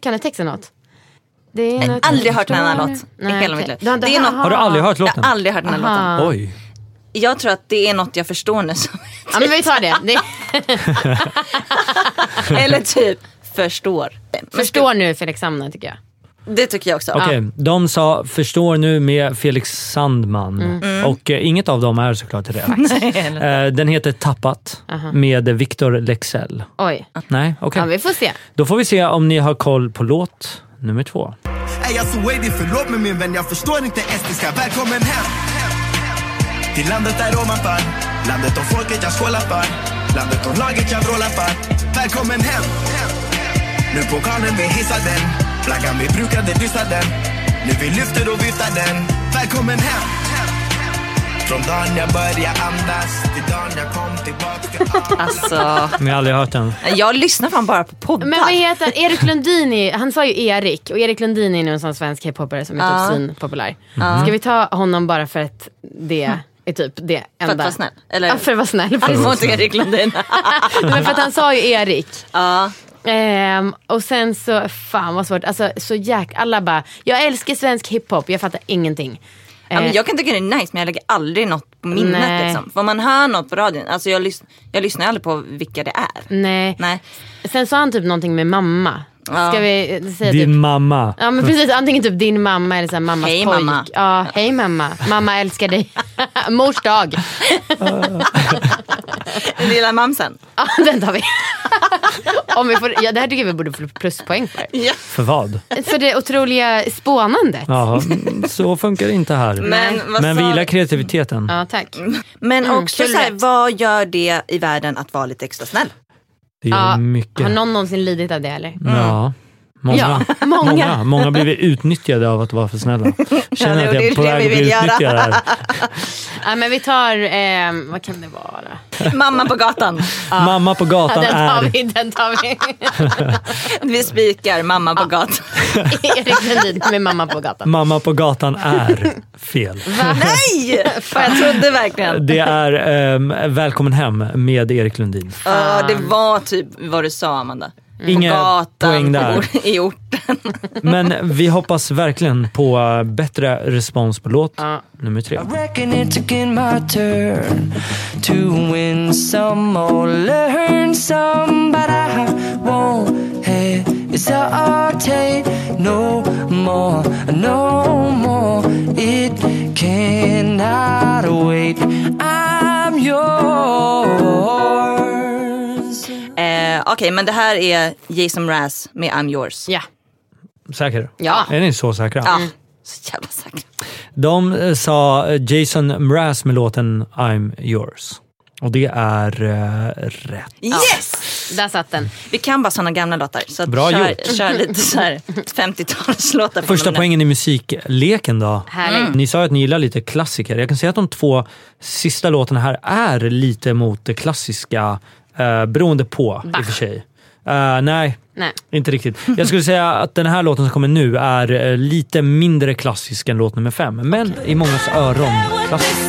Kan du texten något? Det är
Jag har
något jag
aldrig hört den här
förstår.
låten i
Nej,
hela
okej.
mitt liv.
Du har inte
Det är
hört-
något-
Har du aldrig hört
Jag
låten?
har aldrig hört den här låten.
Aha.
Oj.
Jag tror att det är något jag förstår nu. *laughs* som-
Ja men vi tar det.
*laughs*
det
Eller typ förstår. Men
förstår nu Felix Sandman tycker jag.
Det tycker jag också.
Okej, de sa förstår nu med Felix Sandman och eh, inget av dem är såklart rätt. Eh, den heter Tappat med Victor Lexell.
Oj.
Nej, okej.
Ja vi får se.
Då får vi se om ni har koll på låt nummer två.
Är jag så wavy, förlåt mig min vän, jag förstår inte estniska. Välkommen hem! Till landet där ovanför, landet och folket jag skålar för, landet och laget jag vrålar för. Välkommen hem! Nu pokalen vi hissar den, flaggan vi brukade lyfta den. Nu vi lyfter och viftar den. Välkommen hem! Från dagen jag började andas till dagen jag kom tillbaka.
Alltså,
Ni har aldrig hört den?
jag lyssnar fan bara på poddar.
Men vad heter han? Erik Lundin, är- han sa ju Erik och Erik Lundin är nu en sån svensk hiphopare som är
Ja.
typ svinpopulär. Ska vi ta honom bara för att det är typ det enda?
vara snäll, eller?
Ja, för att vara snäll.
Han
precis.
mot
*laughs*
Erik Lundin.
Men för att han sa ju Erik.
ja.
Ehm, och sen så, fan vad svårt. Alltså så jäk... Alla bara, jag älskar svensk hiphop, jag fattar ingenting.
Ja, men
Eh,
jag kan tycka det är nice men jag lägger aldrig något på minnet.
Nej.
Liksom. För om man hör något på radion, alltså jag, lys- jag lyssnar aldrig på vilka det är.
Nej.
Nej.
Sen sa han typ någonting med mamma.
Ja.
Ska vi eh, säga typ...
Din mamma.
Ja men precis, antingen typ din mamma eller så här mammas
Hej,
pojk.
mamma.
Ja, hej mamma. Mamma älskar dig. *laughs* Mors dag.
Lilla mamsen.
Ja, *laughs* den tar vi. Om vi får, ja, det här tycker jag vi borde få pluspoäng för.
Ja.
För vad?
För det otroliga spånandet. Ja,
Jaha, mm, så funkar det inte här.
Men, vad
Men vi
sa-
gillar kreativiteten.
tack.
men också
Mm, kul
så här,
rätt.
vad gör det i världen att vara lite extra snäll?
Det gör
Ja,
mycket.
har någon någonsin lidit av det eller?
Ja. Många.
Ja, många.
många. Många har blivit utnyttjade av att vara för snälla. Känner
Ja,
att jag
det- det är
är på
det
väg
vi
att bli
vill göra.
utnyttjad här.
Ja, men vi tar, ehm, vad kan det vara?
Mamma
*laughs*
på gatan.
Mamma på
Ja,
gatan
den tar
är...
vi, den tar vi.
Vi spikar mamma
Ah.
på gatan.
*laughs* Erik Lundin med mamma på gatan.
Mamma på gatan
*laughs*
är fel.
Nej! Fan, jag trodde verkligen.
Det är ehm, Välkommen hem med Erik Lundin.
Ja, det var typ vad du sa Amanda.
Inga
på gatan,
poäng
*laughs*
där.
or- i orten.
Men vi hoppas verkligen på eh, bättre respons på låt
Ja.
nummer tre.
Reckon it's again my turn to win some or learn some, but I won't hesitate no more, no more. It cannot wait. I'm yours.
Eh, Okej, men det här är Jason Mraz med I'm yours.
Ja. Mm.
Säker?
Ja.
Är ni så säkra?
Ja, så jävla säkert.
De eh, sa eh, Jason Mraz med låten I'm yours. Och det är eh, rätt.
Yes!
Där satt den.
Vi kan bara sådana gamla låtar. Så att
Bra
kör,
gjort.
kör lite så här 50-talslåtar. från
Första
de där.
poängen i musikleken då. Mm.
Härligt.
Ni sa ju att ni gillar lite klassiker. Jag kan säga att de två sista låtarna här är lite mot det klassiska, eh, beroende på i och för sig. Eh, nej,
Nej.
inte riktigt. Jag skulle säga att den här låten som kommer nu är eh, lite mindre klassisk än låt nummer fem. Men i mångas öron klassisk.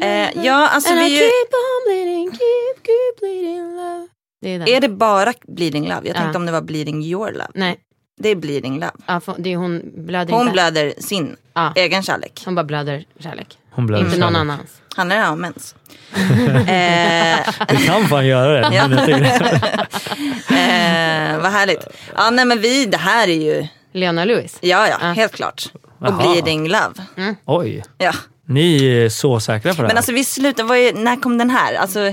Eh, ja, alltså
And I
vi är ju...
keep on bleeding, keep, keep bleeding love. Det är den.
Är det bara Bleeding Love? Jag tänkte
Ja.
om det var Bleeding Your Love.
Nej,
Det är Bleeding Love.
ja, för- det är hon blöder
Hon
inte.
blöder sin
Ja.
egen kärlek.
Hon bara blöder kärlek.
Hon blöder
Inte någon
kärlek.
annans.
Han är om
*laughs*
mens. eh,
Du kan fan göra det.
*laughs* Ja.
Men jag tycker-
eh, vad härligt. Ja, nej men vi, det här är ju,
Leona Lewis.
ja ja, helt klart. Och
Jaha.
Bleeding Love.
Mm.
Oj,
Ja.
ni är så säkra på det här.
Men alltså vi slutar, vad är, när kom den här? Alltså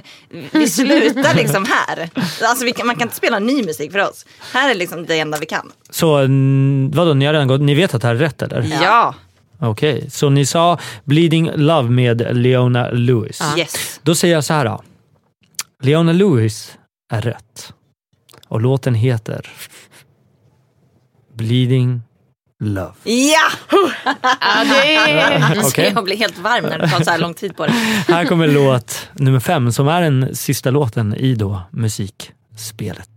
vi slutar liksom här. Alltså vi, kan- man kan inte spela ny musik för oss. Här är liksom det enda vi kan.
Så mm, vadå, ni har redan gått, ni vet att det här är rätt eller?
Ja.
Okej, så ni sa Bleeding Love med Leona Lewis.
Yes.
Då säger jag så här. Då. Leona Lewis är rätt. Och låten heter Bleeding Love.
Ja!
Ja, det är...
Alltså,
Okej.
jag blir helt varm när du tar så här lång tid på det.
Här kommer låt nummer fem som är den sista låten i då musikspelet.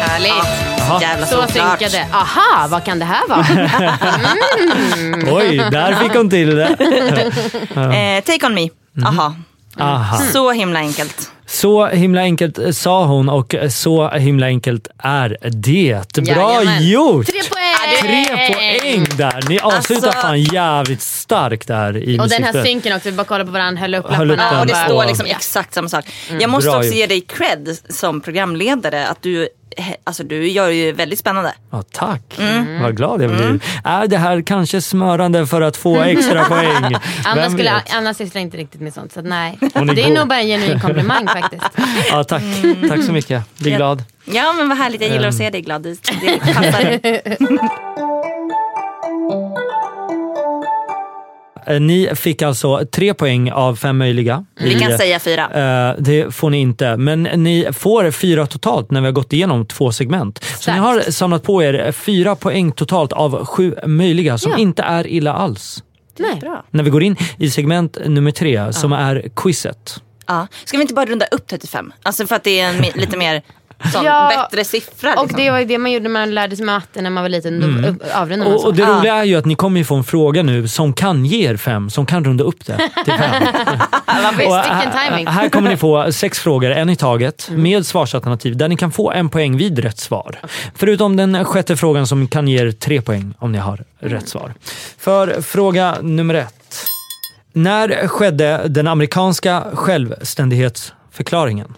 Härligt.
Jävla
Så
alltså,
såklart.
synkade. Aha, vad kan det här vara? Mm.
Oj, där fick hon till det.
Eh, take on me. Aha.
Aha.
Så himla enkelt.
Så himla enkelt eh, sa hon och eh, så himla enkelt är det. Bra
Jajamän.
gjort!
Tre poäng!
Tre poäng där! Ni avslutar
Alltså-
fan jävligt starkt där i
Och den här
musikspelet.
synken också, vi bara kollar på varandra, höll upp
Höll upp den.
lapparna.
Ja, och det
Bara-
står liksom exakt samma sak. Jag måste
Bra
också
ju.
ge dig cred som programledare att du, he- alltså du gör ju väldigt spännande.
Ja, tack,
Mm.
vad glad jag blir. Är det här kanske smörande för att få
Mm.
extra
*laughs*
poäng?
Anna,
Vem
skulle,
vet?
Anna sysslar inte riktigt med sånt, så att nej. Alltså,
Hon är
Det är
god.
nog bara en
*laughs*
genuin komplimang faktiskt.
Ja, tack. tack så mycket. Bli glad.
Mm. Ja men vad härligt, jag gillar att se dig glad. Det det passar dig.
Eh, Ni fick alltså tre poäng av fem möjliga.
Mm. Vi
i-
kan säga fyra.
Eh, det får ni inte, men ni får fyra totalt när vi har gått igenom två segment. Så ni har samlat på er fyra poäng totalt av sju möjliga som
Ja.
inte är illa alls.
Nej.
När vi går in i segment nummer tre som är quizet.
Ja. Ska vi inte bara runda upp 35? Alltså för att det är en mi- lite mer sån,
Ja.
bättre siffra. Liksom.
Och det var ju det man gjorde när man lärde sig matte när man var liten. Då upp- avrundade
Mm.
man
Och,
så.
och det
Ah.
roliga är ju att ni kommer ju få en fråga nu som kan ge er fem, som kan runda upp det till fem.
Visst,
Och
vilken timing. Mm.
här, här kommer
*laughs*
ni få sex frågor, en i taget, med svarsalternativ där ni kan få en poäng vid rätt svar. Förutom den sjätte frågan som kan ge er tre poäng om ni har
Mm.
rätt svar. För fråga nummer ett. När skedde den amerikanska självständighetsförklaringen?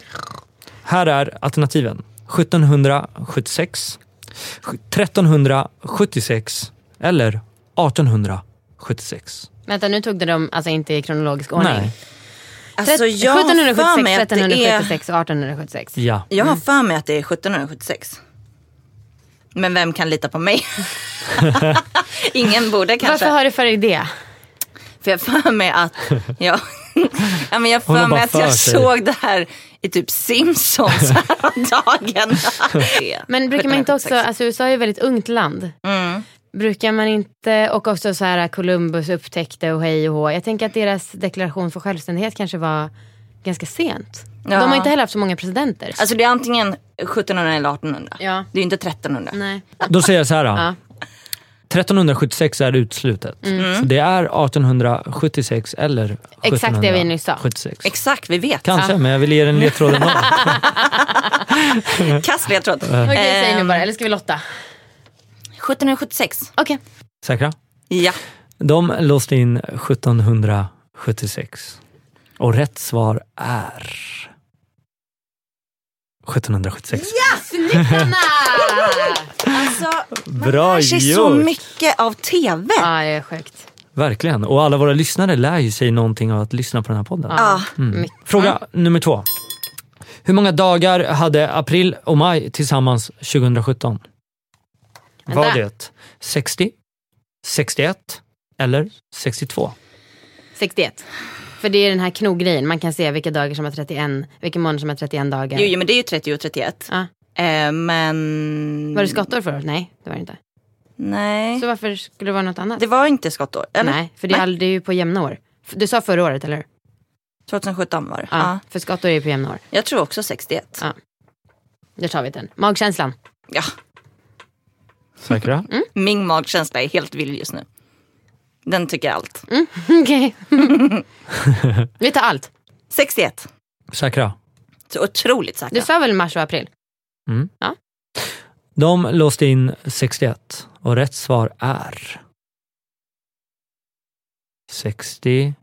Här är alternativen. 1776, 1376 eller 1876.
Vänta, nu tog du dem alltså inte i kronologisk ordning.
Nej,
alltså, jag har för
1776,
mig att det är,
1376 och 1876.
ja.
jag
Mm.
har för mig att det är 1776. Men vem kan lita på mig? *laughs* Ingen borde kanske.
Varför har du för dig det?
För jag har för mig att jag, *laughs* ja, men jag, har
Hon har
för
bara
mig att jag
för sig.
såg det här i
*laughs*
typ Simpsons häromdagen.
Men brukar man inte också, alltså USA är ju ett väldigt ungt land.
Mm.
Brukar man inte, och också så här Columbus upptäckte och hej och hå. Jag tänker att deras deklaration för självständighet kanske var ganska sent.
Ja.
De har inte heller haft så många presidenter.
Alltså det är antingen 1700 eller 1800.
Ja.
Det är ju inte 1300.
Nej.
Då säger jag så här. då. 1376 är utslutet.
Mm.
Så det är 1876 eller 1776.
Exakt det vi nyss sa.
Exakt, vi vet.
Kanske, men jag vill ge
*laughs*
den ledtråden då.
Kast ledtråd.
Okej, säg nu
Ehm,
bara. Eller ska vi lotta?
1776. *laughs*
Okej.
Säkra?
Ja.
De låste in 1776. Och rätt svar är 1776.
Snyggt Anna!
Alltså,
Bra
det är så
gjort!
mycket av tv.
Ja, det är sjukt.
Verkligen. Och alla våra lyssnare lär ju sig någonting av att lyssna på den här podden.
Ja. mycket.
Fråga nummer två. Hur många dagar hade april och maj tillsammans 2017? Var
Vänta.
det 60, 61 eller 62?
61. För det är den här knoggrejen. Man kan se vilka dagar som har 31, vilka månader som har 31 dagar.
Jo, jo, men det är ju 30 och 31.
Ja.
Eh, men...
Var det skottår förra året? Nej, det var det inte.
Nej.
Så varför skulle det vara något annat?
Det var inte skottår. Eller?
Nej, för det är, aldrig, det är ju på jämna år. F- Du sa förra året, eller hur?
2017 var det.
Ja.
Ja.
För skottår är ju på jämna år.
Jag tror också 61.
Ja. Där tar vi den. Magkänslan. *laughs*
Ja.
Säkra?
Mm.
Min magkänsla är helt vild just nu. Den tycker allt.
Okej. vi tar allt.
61.
Säkra.
Så otroligt säkert.
Du sa väl mars och april?
De låste in 61 och rätt svar är 61.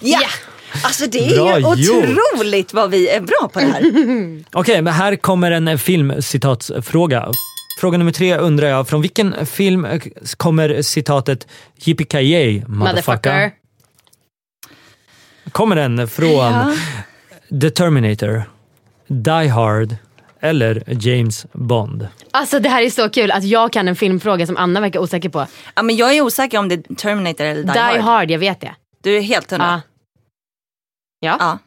Ja! Alltså det är
Bra
ju
gjort.
otroligt vad vi är bra på
*laughs*
det här.
Okej, men här kommer en eh, filmcitatsfråga. Fråga nummer tre undrar jag, från vilken film eh, kommer citatet Yippee-ki-yay, motherfucker?
Motherfucker.
Kommer den från The Terminator, Die Hard eller James Bond?
Alltså det här är så kul att jag kan en filmfråga som Anna verkar osäker på.
Ja, men jag är osäker om det är Terminator eller Die,
Die Hard,
Hard.
jag vet det.
Du är helt hundra.
Ja. Ja.
Ja.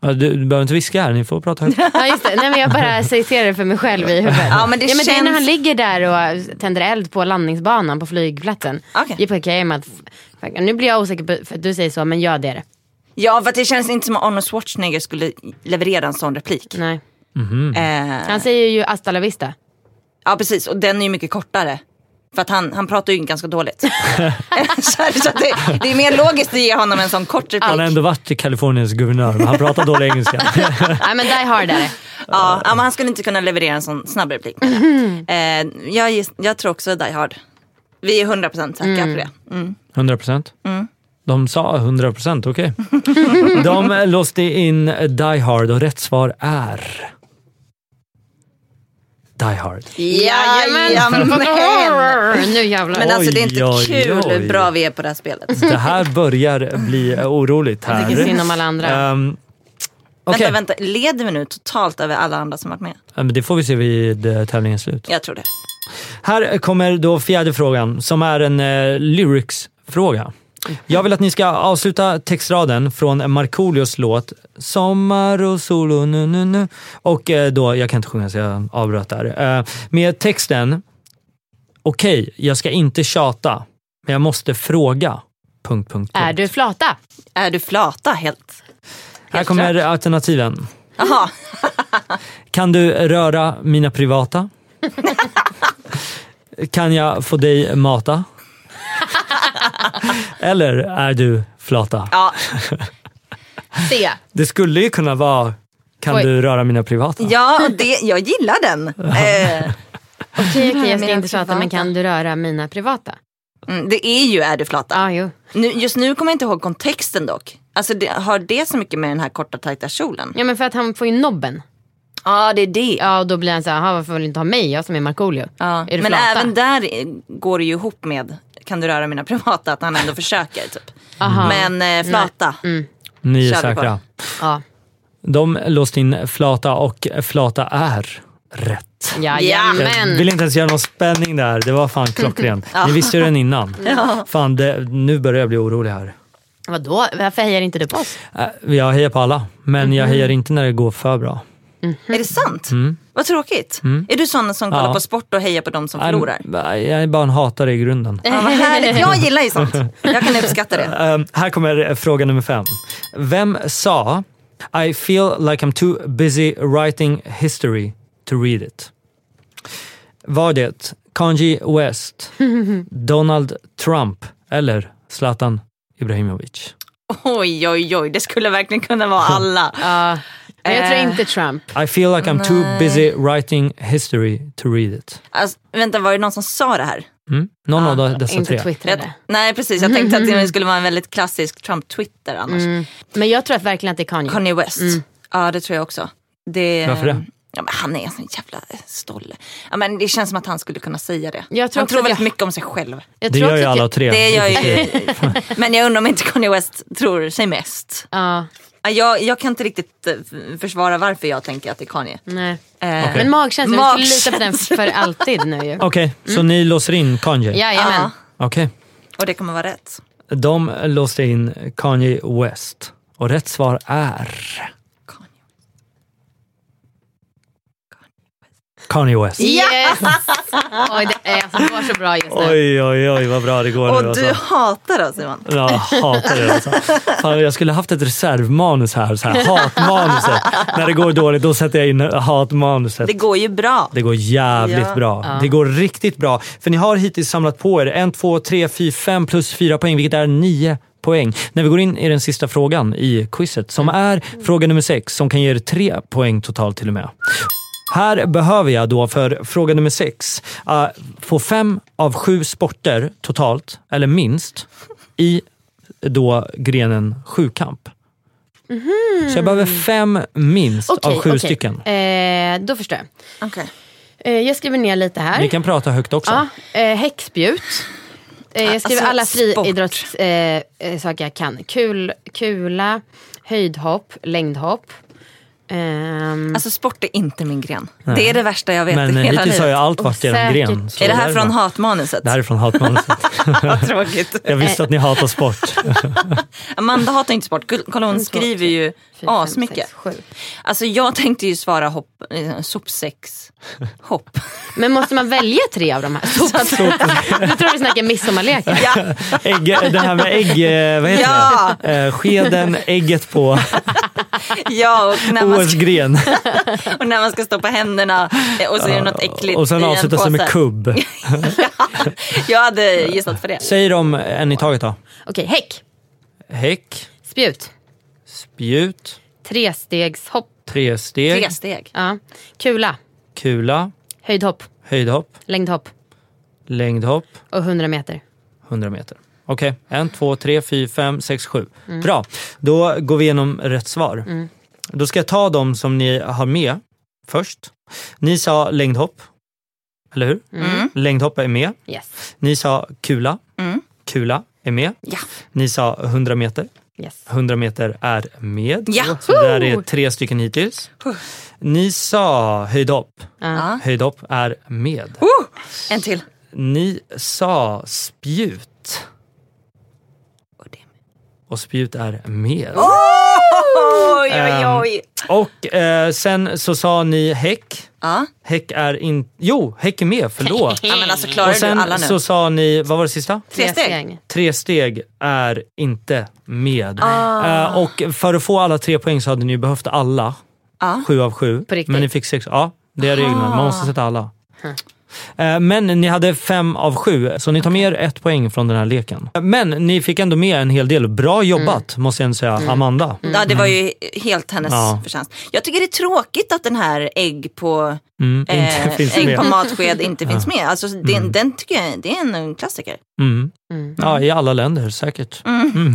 Ja, Du, du behöver inte viska här, ni får prata högt.
Ja just det, nej men jag bara citerar det för mig själv i huvudet.
Ja, men det
ja, men det är när
känns-
han ligger där och tänder eld på landningsbanan på flygplatsen.
Okej.
JPK med att, nu blir jag osäker på, för att du säger så, men ja det är det.
Ja, för att det känns inte som att Arnold Schwarzenegger skulle leverera en sån replik.
Nej. Mm.
Eh,
Han säger ju hasta la vista.
ja, precis. Och den är ju mycket kortare. För att han, han pratar ju
*laughs*
ganska dåligt. *laughs* så här, så att det, det är mer logiskt att ge honom en sån kort replik.
Han har ändå varit till Kaliforniens guvernör, men han pratar dålig engelska.
Nej men Die Hard är
*laughs*
det.
Ja, ja, men han skulle inte kunna leverera en sån snabb replik.
Mm.
eh, jag, giss- jag tror också Die Hard. Vi är 100% säkra
Mm.
på det.
100 procent?
Mm.
De sa 100 procent, okej. *laughs* De låste in Die Hard och rätt svar är Die Hard.
Jajamän!
Nu jävlar.
Men alltså det är inte
Oj, oj,
kul
oj.
hur bra vi är på det här spelet.
Det här börjar bli oroligt här.
Jag tycker synd om alla andra.
Ehm, okej.
Vänta, vänta, leder vi nu totalt över alla andra som varit med?
Ja, men Det får vi se vid eh, tävlingens slut.
Jag tror det.
Här kommer då fjärde frågan som är en eh, lyrics-fråga. Jag vill att ni ska avsluta textraden från Markoolios låt Sommar och sol och nu nu nu och eh, då, jag kan inte sjunga så jag avbröt där. Eh, med texten Okej, jag ska inte tjata men jag måste fråga. Punkt, punkt, punkt.
Är du flata?
Är du flata helt?
Här kommer alternativen.
Jaha,
Kan du röra mina privata? kan jag få dig mata? Eller är du flata?
ja,
Se.
Det skulle ju kunna vara kan
Oj.
du röra mina privata?
ja och det, jag gillar den. Eh,
Okej okej, jag ska
Mina
inte tjata men
privata.
kan du röra mina privata?
mm, det är ju är du flata.
Ja jo.
Nu, just nu kommer jag inte ihåg kontexten dock. Alltså det, har det så mycket med den här korta tajta kjolen?
Ja men för att han får ju nobben.
Ja det är det.
Ja och då blir han så här, "Jaha, varför vill du inte ha mig? Jag som är Markoolio.
Ja,
Är du
men
flata?
även där eh, går det ju ihop med kan du röra mina privata att han ändå försöker typ.
Aha.
Men eh, flata.
Ni är
Kör vi
säkra.
Ja.
De låste in flata och flata är rätt.
Jajamän.
Jag vill inte ens göra någon spänning där. Det var fan
*laughs*
klockrent. Ni visste ju den innan. Fan, det, nu börjar jag bli orolig här.
Vadå? Varför hejar inte du på oss?
Äh, Jag hejar på alla, men jag
Mhm.
hejar inte när det går för bra.
Är det sant? Vad tråkigt. Är du sån som kollar
Ja.
på sport och hejar på de som
Nej,
*laughs* förlorar?
Jag är bara en hatare i grunden.
Ja, vad härligt. Jag gillar ju sånt. Jag kan uppskatta det.
Ehm, här kommer fråga nummer fem. Vem sa I feel like I'm too busy writing history to read it? Var det Kanye
*laughs*
West, Donald Trump eller Zlatan Ibrahimovic?
Oj, oj, oj, det skulle verkligen kunna vara alla.
Ja. Men jag tror
Eh.
inte Trump.
I feel like I'm too busy writing history to read it.
Alltså, vänta, var det någon som sa det här?
Mm? Någon av de- dessa
Ah, Inte
tre.
Jag,
twittrade.
nej, precis. Jag tänkte
*laughs*
att
Mm.
det skulle vara en väldigt klassisk Trump-Twitter annars.
Men jag tror att verkligen att det är Kanye.
Kanye West.
Mm.
Ja, det tror jag också. Det,
Varför det?
Ja, men han är en sån jävla eh, stolle. Ja, men det känns som att han skulle kunna säga det.
Jag tror
han
också
tror
att
väldigt
jag-
mycket om sig själv.
Jag
Det
tror
gör ju
också att
alla
jag-
tre.
Det gör
i och för sig.
ju... *laughs* men jag undrar om inte Kanye West tror sig mest.
Ja,
Ja, Jag, jag kan inte riktigt eh, försvara varför jag tänker att det är Kanye.
nej.
Eh,
Men magkänslan, vi skulle lita på den
Magkänslan.
för alltid nu
*laughs*
ju.
Okej,
Mm.
så ni låser in Kanye?
Jajamän.
Ja.
Okej.
Och det kommer vara rätt.
De låste in Kanye West. Och rätt svar är
Kanye.
Kanye West.
Yes! Oj, det är, alltså, det går så bra just nu.
Oj, oj, oj vad bra det går nu
Och
alltså.
du hatar då Simon.
Jag hatar det alltså. Fan, jag skulle haft ett reservmanus här, så här hatmanuset. När det går dåligt då sätter jag in hatmanuset.
Det går ju bra.
Det går jävligt
Ja.
bra. Det går riktigt bra. För ni har hittills samlat på er en, två, tre, fyra, fem plus fyra poäng, vilket är nio poäng. När vi går in i den sista frågan i quizet, som
Mm.
är fråga nummer sex, som kan ge er tre poäng totalt till och med. Här behöver jag då för fråga nummer sex eh, få fem av sju sporter totalt, eller minst, i då grenen sjukamp. Så jag behöver fem minst
Mhm. Okej,
av sju
okej.
stycken.
Eh, då förstår jag.
Okej.
Eh, jag skriver ner lite här.
Ni kan prata högt också.
Ja, eh, häckspjut. Eh, jag skriver
Alltså,
alla
sport.
friidrottssaker eh, saker jag kan. Kul, kula, höjdhopp, längdhopp. Ehm,
Alltså sport är inte min gren. Det är det värsta jag vet
Mm. Men
i
eh,
hela
hittills har ju
livet.
allt varit er
Osäkert.
gren. så
Är det här
därifrån-
från hatmanuset?
Det här är från hatmanuset.
Vad tråkigt.
Jag visste att ni hatar
*laughs*
sport.
Amanda hatar inte sport. Gull- Kolla
Alltså,
hon skriver ju
fyra, fem,
asmycket.
sex, sju.
Alltså jag tänkte ju svara hopp, eh, sopsex, hopp.
Men måste man välja tre av de här? Du tror vi snackar midsommarlekar.
*laughs* Ja,
Ägg, det här med ägg, eh, vad heter
Ja.
det? Eh, Skeden, ägget på
ja och, när man ska,
OS-gren.
och när man ska stoppa händerna eh, och så är det något äckligt
Och sen
i en
avsluta sig med
påse. *laughs*
kubb.
Ja, jag hade gissat på det.
Säg dem en i taget då.
Okej, häck,
Häck,
spjut,
spjut,
trestegshopp,
tresteg,
Tre steg.
ja. kula,
kula,
höjdhopp,
höjdhopp,
längdhopp
längdhopp,
och 100 meter.
100 meter. Okej, en, två, tre, fyra, fem, sex, sju. Bra, då går vi igenom rätt svar. Då ska jag ta de som ni har med först. Ni sa längdhopp, eller hur?
Mm.
Längdhopp är med.
Yes.
Ni sa kula,
Mm.
kula är med.
Ja.
Ni sa 100 meter,
yes.
100 meter är med.
Ja.
Så där är tre stycken hittills. Ni sa höjdhopp,
Ja.
höjdhopp är med.
Oh, en till.
Ni sa spjut.
Och det-
Och spjut är med.
Oj, oj,
Ehm,
oj.
Och eh, sen så sa ni häck.
Ja.
Häck är inte... Jo, häck är med, förlåt.
ja, men alltså
Och
klarar du alla
sen
nu?
så sa ni, vad var det sista?
Tre steg.
Tre steg är inte med.
Ah.
Eh, och för att få alla tre poäng så hade ni ju behövt alla.
Ja.
Sju av sju.
Ah. På riktigt? Hm.
Men ni fick sex. Ja, det är reglerna. Man måste sätta alla. Eh, Men ni hade fem av sju, så ni tar med er ett poäng från den här leken. Men ni fick ändå med en hel del. Bra jobbat,
Mm.
måste jag ändå säga, Amanda.
Ja, det var ju helt hennes
Mm. Ja.
förtjänst. Jag tycker det är tråkigt att den här ägg på,
Mm, inte
eh,
finns
ägg
med.
på
*laughs*
matsked inte finns med. Alltså, det, Den tycker jag det är en klassiker.
Mm. Ja, I alla länder säkert. Mm.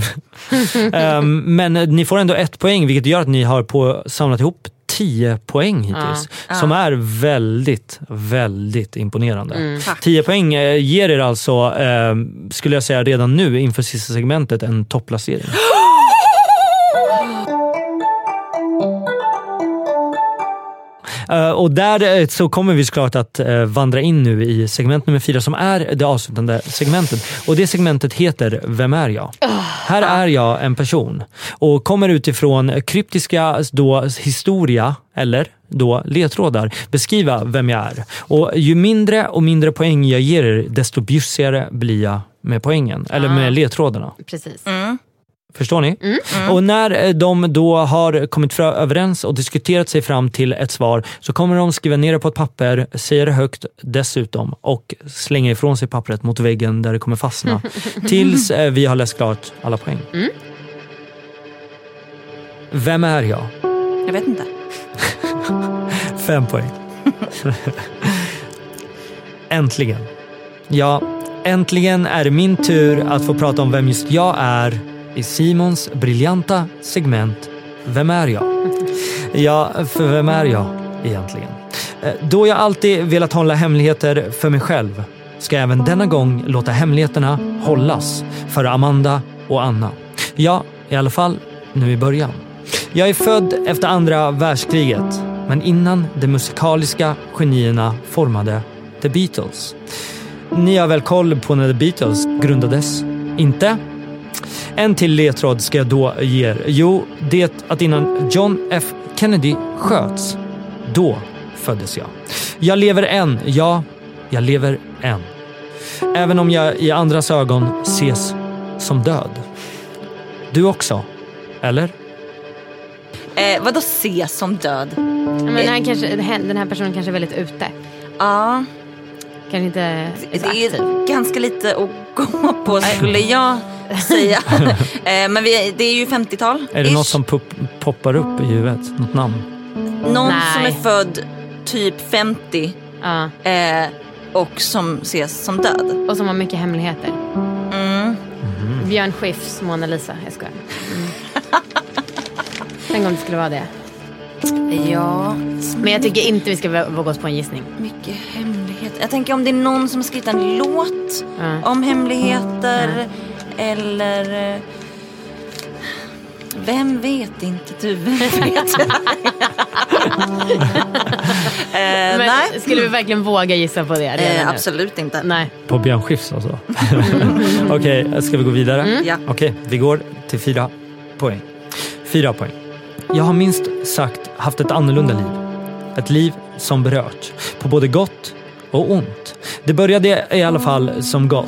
Ehm, men eh, ni får ändå ett poäng vilket gör att ni har på, samlat ihop 10 poäng hittills. Som är väldigt, väldigt imponerande. 10 poäng eh, ger er alltså, eh, skulle jag säga redan nu inför sista segmentet, en topplacering. Eh, och där eh, så kommer vi såklart att eh, vandra in nu i segment nummer fyra som är det avslutande segmentet. Och det segmentet heter Vem är jag? Här är jag en person och kommer utifrån kryptiska då, historia eller då ledtrådar beskriva vem jag är. Och ju mindre och mindre poäng jag ger
Mm.
er desto bjussigare blir jag med poängen, eller med ledtrådarna.
Precis.
Förstår ni? Och när eh, de då har kommit fra- överens och diskuterat sig fram till ett svar så kommer de skriva ner det på ett papper, säger det högt dessutom och slänger ifrån sig pappret mot väggen där det kommer fastna. Tills eh, vi har läst klart alla poäng. Vem är jag?
Jag vet inte.
Fem poäng. äntligen. Ja, äntligen är det min tur att få prata om vem just jag är i Simons briljanta segment Vem är jag? Ja, för vem är jag egentligen? Eh, Då jag alltid velat hålla hemligheter för mig själv ska jag även denna gång låta hemligheterna hållas för Amanda och Anna. Ja, i alla fall nu i början. Jag är född efter andra världskriget, men innan de musikaliska genierna formade The Beatles. Ni har väl koll på när The Beatles grundades? Inte? En till ledtråd ska jag då ge er. Jo, det att innan John F Kennedy sköts, då föddes jag. Jag lever än, ja, jag lever än. Även om jag i andras ögon ses som död. Du också, eller?
Eh, vadå ses som död?
Men han kanske, den här personen kanske är väldigt ute.
Ja,
Kanske inte är så
det
aktiv.
är ganska lite att gå på skulle jag
*laughs*
säga. eh, men vi, det är ju 50-tal.
Är det
ish.
något som pop- poppar upp i huvudet? Något namn?
Någon som
Nej.
är född typ 50
Ja.
eh, och som ses som död.
Och som har mycket hemligheter.
Mm.
Mm-hmm. Björn Skifs Mona Lisa. Jag skojar. Mm.
*laughs*
Tänk om det skulle vara det.
Ja,
Men jag tycker inte vi ska vå- våga oss på en gissning.
mycket hemligheter. Jag tänker om det är någon som har skrivit en låt
Ja.
om hemligheter eller... eh, Vem vet inte du?
*laughs*
Vem vet? eh,
Men
nej,
skulle vi verkligen våga gissa på det? redan
eh,
nu?
absolut inte.
Nej. *laughs*
På Björn Skifs
*laughs*
alltså? Okej, ska vi gå vidare?
Mm. Ja.
Okej, vi går till fyra poäng. Fyra poäng. Jag har minst sagt haft ett annorlunda liv. Ett liv som berört. På både gott och ont. Det började i alla fall som gott.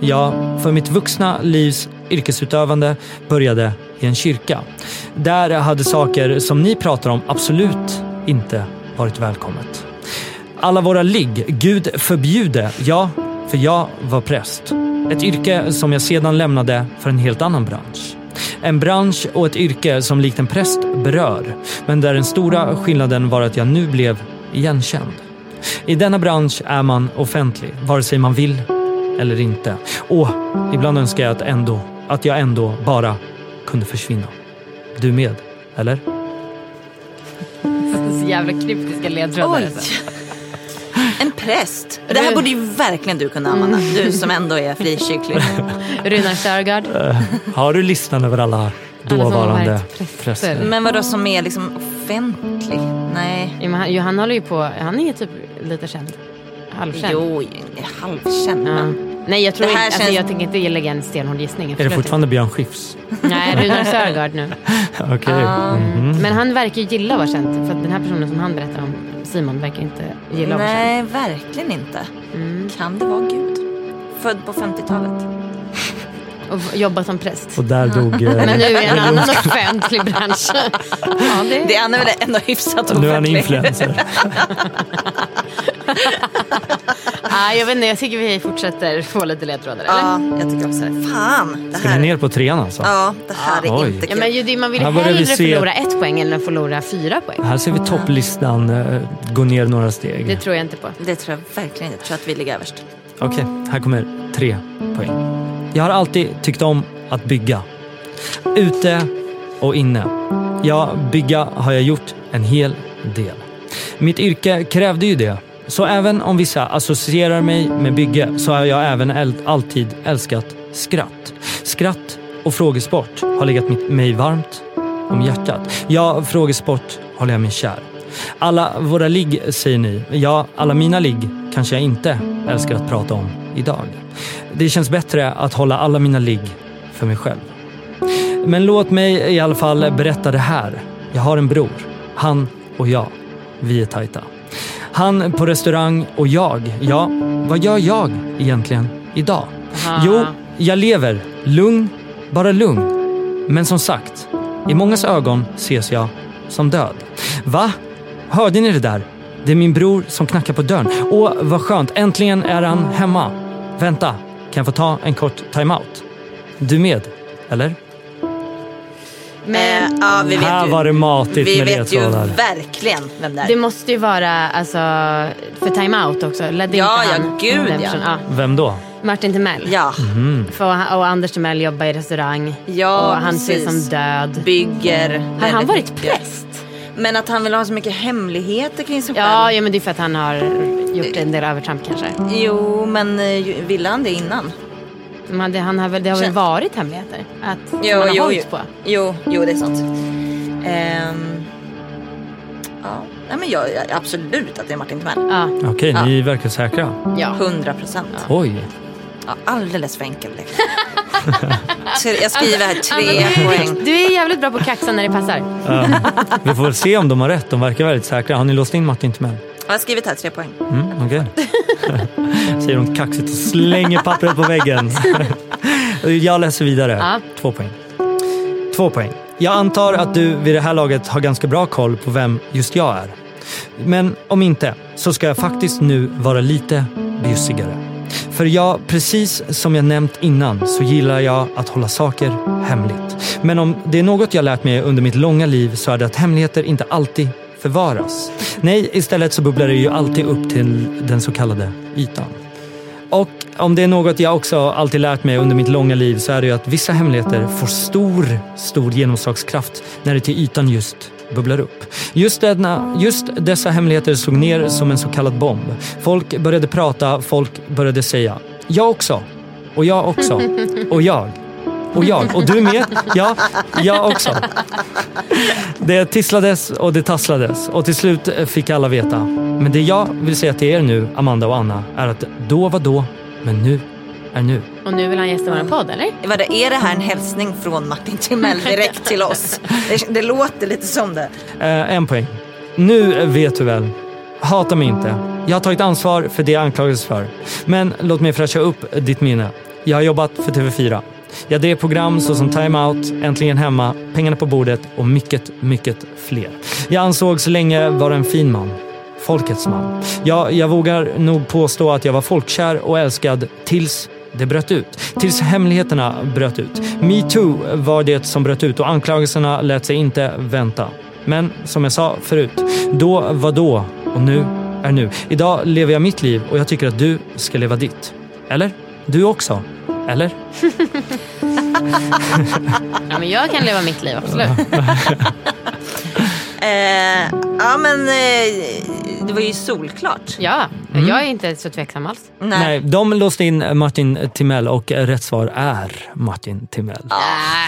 Ja, för mitt vuxna livs yrkesutövande började i en kyrka. Där hade saker som ni pratar om absolut inte varit välkommet. Alla våra ligg, Gud förbjude. Ja, för jag var präst. Ett yrke som jag sedan lämnade för en helt annan bransch. En bransch och ett yrke som likt en präst berör, men där den stora skillnaden var att jag nu blev igenkänd. I denna bransch är man offentlig, vare sig man vill eller inte. Och ibland önskar jag att, ändå, att jag ändå bara kunde försvinna. Du med, eller?
Så jävla kryptiska ledtrådar.
Oj!
Alltså.
En präst. Det här borde ju verkligen du kunna använda. Du som ändå är frikyrklig.
Mm. Runar
*laughs*
Sörgard.
Har du listan över alla
som har
dåvarande
varit präster.
präster?
Men vadå som är liksom offentlig? Nej.
Ja, men han- jo, han håller ju på, han är ju typ lite känd. Halvkänd.
Jo, halvkänd.
Ja.
men-
Nej jag tror
Det
inte,
här
alltså,
känns-
jag tänker inte lägga en stenhård gissning.
Är det
absolut
fortfarande Mm. Björn Skifs?
inte. Nej,
*laughs*
Runar Sörgard nu.
Okej. Mhm.
Men han verkar ju gilla att vara känd. För att den här personen som han berättar om, Simon, verkar inte gilla att vara känd. Mm.
Nej, verkligen inte. Kan det vara Gud? Född på 50-talet.
Och v- jobba som präst.
Och där dog... eh,
Men nu är han en annan offentlig
*laughs*
bransch. Ja, det...
Det är han väl ändå hyfsat
nu är han
offentlig.
influencer.
Ah, jag vet inte, jag tycker vi fortsätter få lite ledtrådar. Eller?
Ja, jag tycker också det. Fan, det
Ska ni
här,
ner på trean alltså?
ja, det här är
Oj.
inte
Ja,
kul.
men ju, det- man vill ju
Här börjar vi
hellre
se-
förlora ett poäng än att förlora fyra poäng.
Här ser vi topplistan eh, gå ner några steg.
Det tror jag inte på.
Det tror jag verkligen inte. Jag tror att vi ligger överst.
Okej, här kommer tre poäng. Jag har alltid tyckt om att bygga. Ute och inne. Ja, bygga har jag gjort en hel del. Mitt yrke krävde ju det. Så även om vissa associerar mig med bygge så har jag även äl- alltid älskat skratt. Skratt och frågesport har legat mitt, mig varmt om hjärtat. Ja, frågesport håller jag mig kär. Alla våra ligg säger ni. Ja, alla mina ligg kanske jag inte älskar att prata om idag. Det känns bättre att hålla alla mina ligg för mig själv. Men låt mig i alla fall berätta det här. Jag har en bror. Han och jag. Vi är tajta. Han på restaurang och jag. Ja, vad gör jag egentligen idag? Jo, jag lever. Lugn, bara lugn. Men som sagt, i mångas ögon ses jag som död. Va? Hörde ni det där? Det är min bror som knackar på dörren. Åh, vad skönt. Äntligen är han hemma. Vänta, kan jag få ta en kort timeout? Du med, eller?
Men
Eh, ja, vi vet
Här
ju,
var det matigt
vi
med
vet ju
ledtrådar.
verkligen vem det är.
det måste ju vara alltså, för time-out också. Ledde
Ja,
inte
ja,
han
gud,
den
ja.
personen? Ja.
Vem då?
Martin Timell.
Ja,
Mhm.
För, han- och Anders Timell jobbar i restaurang.
Ja,
och han ses
precis.
som död.
bygger.
Har han
väldigt
varit
mycket.
präst?
Men att han vill ha så mycket hemligheter kring sig
Ja,
själv.
ja, men det är för att han har gjort en del övertramp kanske.
Jo, men eh, ju- ville han det innan?
Men det, han har väl, det har väl
Känns-
varit hemligheter? Att som
Jo,
han har
jo,
hållit
jo.
på?
Jo, jo, det är sant. Ehm, ja, nej men jag, jag absolut att det är Martin Timell.
Ja.
Okej, ni verkar säkra.
ja.
100 procent.
Oj.
Ja, alldeles för enkel lek. Så Jag skriver här
Ja, men du,
tre
är,
poäng.
du är jävligt bra på att kaxa när det passar.
Vi får väl se om de har rätt. De verkar väldigt säkra. Har ni låst in Martin Timell?
Jag har skrivit här tre poäng.
Mm,
*laughs*
Okej. Säger hon kaxigt och slänger pappret på
*laughs*
väggen. Jag läser vidare.
Ja.
Två poäng. Två poäng. Jag antar att du vid det här laget har ganska bra koll på vem just jag är. Men om inte, så ska jag faktiskt nu vara lite bjussigare. För jag, precis som jag nämnt innan, så gillar jag att hålla saker hemligt. Men om det är något jag lärt mig under mitt långa liv så är det att hemligheter inte alltid förvaras. Nej, istället så bubblar det ju alltid upp till den så kallade ytan. Och om det är något jag också alltid lärt mig under mitt långa liv så är det ju att vissa hemligheter får stor, stor genomslagskraft när det till ytan just bubblar upp. Just, denna, just dessa hemligheter slog ner som en så kallad bomb. Folk började prata, folk började säga “Jag också” och “Jag också” och “Jag” och “Jag” och du med, ja, jag också. Det tisslades och det tasslades och till slut eh, fick alla veta. Men det jag vill säga till er nu, Amanda och Anna, är att då var då, men nu är nu.
Och nu vill han gästa vår podd, eller?
Vad det- Är det här en hälsning från Martin Timell direkt till oss? Det, det låter lite som det.
Eh, en poäng. Nu vet du väl. Hata mig inte. Jag har tagit ansvar för det jag anklagades för. Men låt mig fräscha upp ditt minne. Jag har jobbat för TV4. Jag drev program såsom Time Out, Äntligen Hemma, Pengarna på bordet och mycket, mycket fler. Jag ansågs länge vara en fin man. Folkets man. Jag, jag vågar nog påstå att jag var folkkär och älskad tills det bröt ut. Tills hemligheterna bröt ut. Metoo var det som bröt ut och anklagelserna lät sig inte vänta. Men som jag sa förut, då var då och nu är nu. Idag lever jag mitt liv och jag tycker att du ska leva ditt. Eller? Du också? Eller?
Ja, men jag kan leva mitt liv, absolut.
Eh, ja, men eh, det var ju solklart.
Ja,
Mm.
jag är inte så tveksam alls.
Nej.
de låste in Martin Timell och rätt svar är Martin Timell.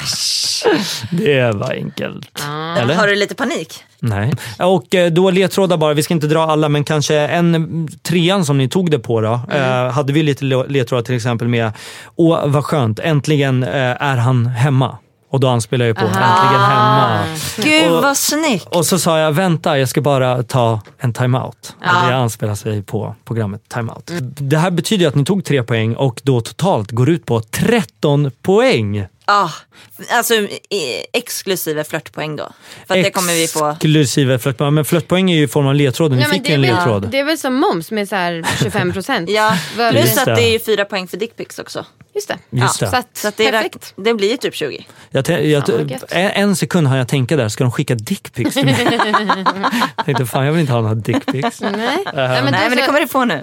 Äsch.
Det var enkelt. Eller?
Har du lite panik?
Nej. Och eh, då ledtrådar bara, vi ska inte dra alla men kanske en mm, trean som ni tog det på då.
Mm.
Eh, hade vi lite le- ledtrådar till exempel med Åh vad skönt, äntligen eh, är han hemma. Och då anspelar jag på äntligen hemma.
Gud
Och-
vad snyggt.
Och så sa jag vänta, jag ska bara ta en timeout. Och det anspelar sig på programmet timeout. Det här betyder ju att ni tog tre poäng och då totalt går ut på 13 poäng.
Ja, alltså eh, exklusive flörtpoäng då. För att det kommer vi få.
Exklusive flörtpoäng. Men flörtpoäng är ju i form av ledtråden. Ni
men
fick
det,
ju
är
en
väl,
ledtråd.
det är väl som moms med så här 25 procent.
*laughs* Ja, plus
Just
att
det.
det är ju fyra poäng för dickpics också.
Just det.
Just
ja,
det.
Så att,
Så att det, är,
perfekt.
det blir ju typ 20.
Jag, tän- jag,
Fan, vad gött.
en, en sekund har jag tänka där, ska de skicka dickpics till
*laughs*
mig? jag tänkte fan jag vill inte ha några dickpics.
Nej. Nej, men
Nej
då
men det
så-
kommer du få nu.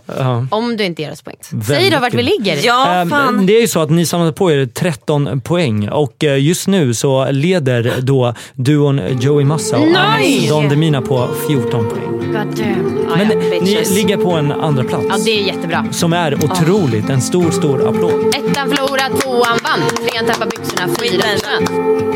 Om du inte ger oss poäng.
Mm.
Säg då vart vi ligger.
Ja,
Ehm,
fan.
det är ju så att ni samlade på er 13 poäng och eh, just nu så leder då duon Joey Massa och Anis Don Demina på 14 poäng.
God damn. Ja,
啊
Men
ja.
ni ligger på en andra plats
ja, det är jättebra.
som är otroligt. En stor, stor applåd.
Ettan förlorade, tvåan vann. Trean tappade byxorna, fyran försvann.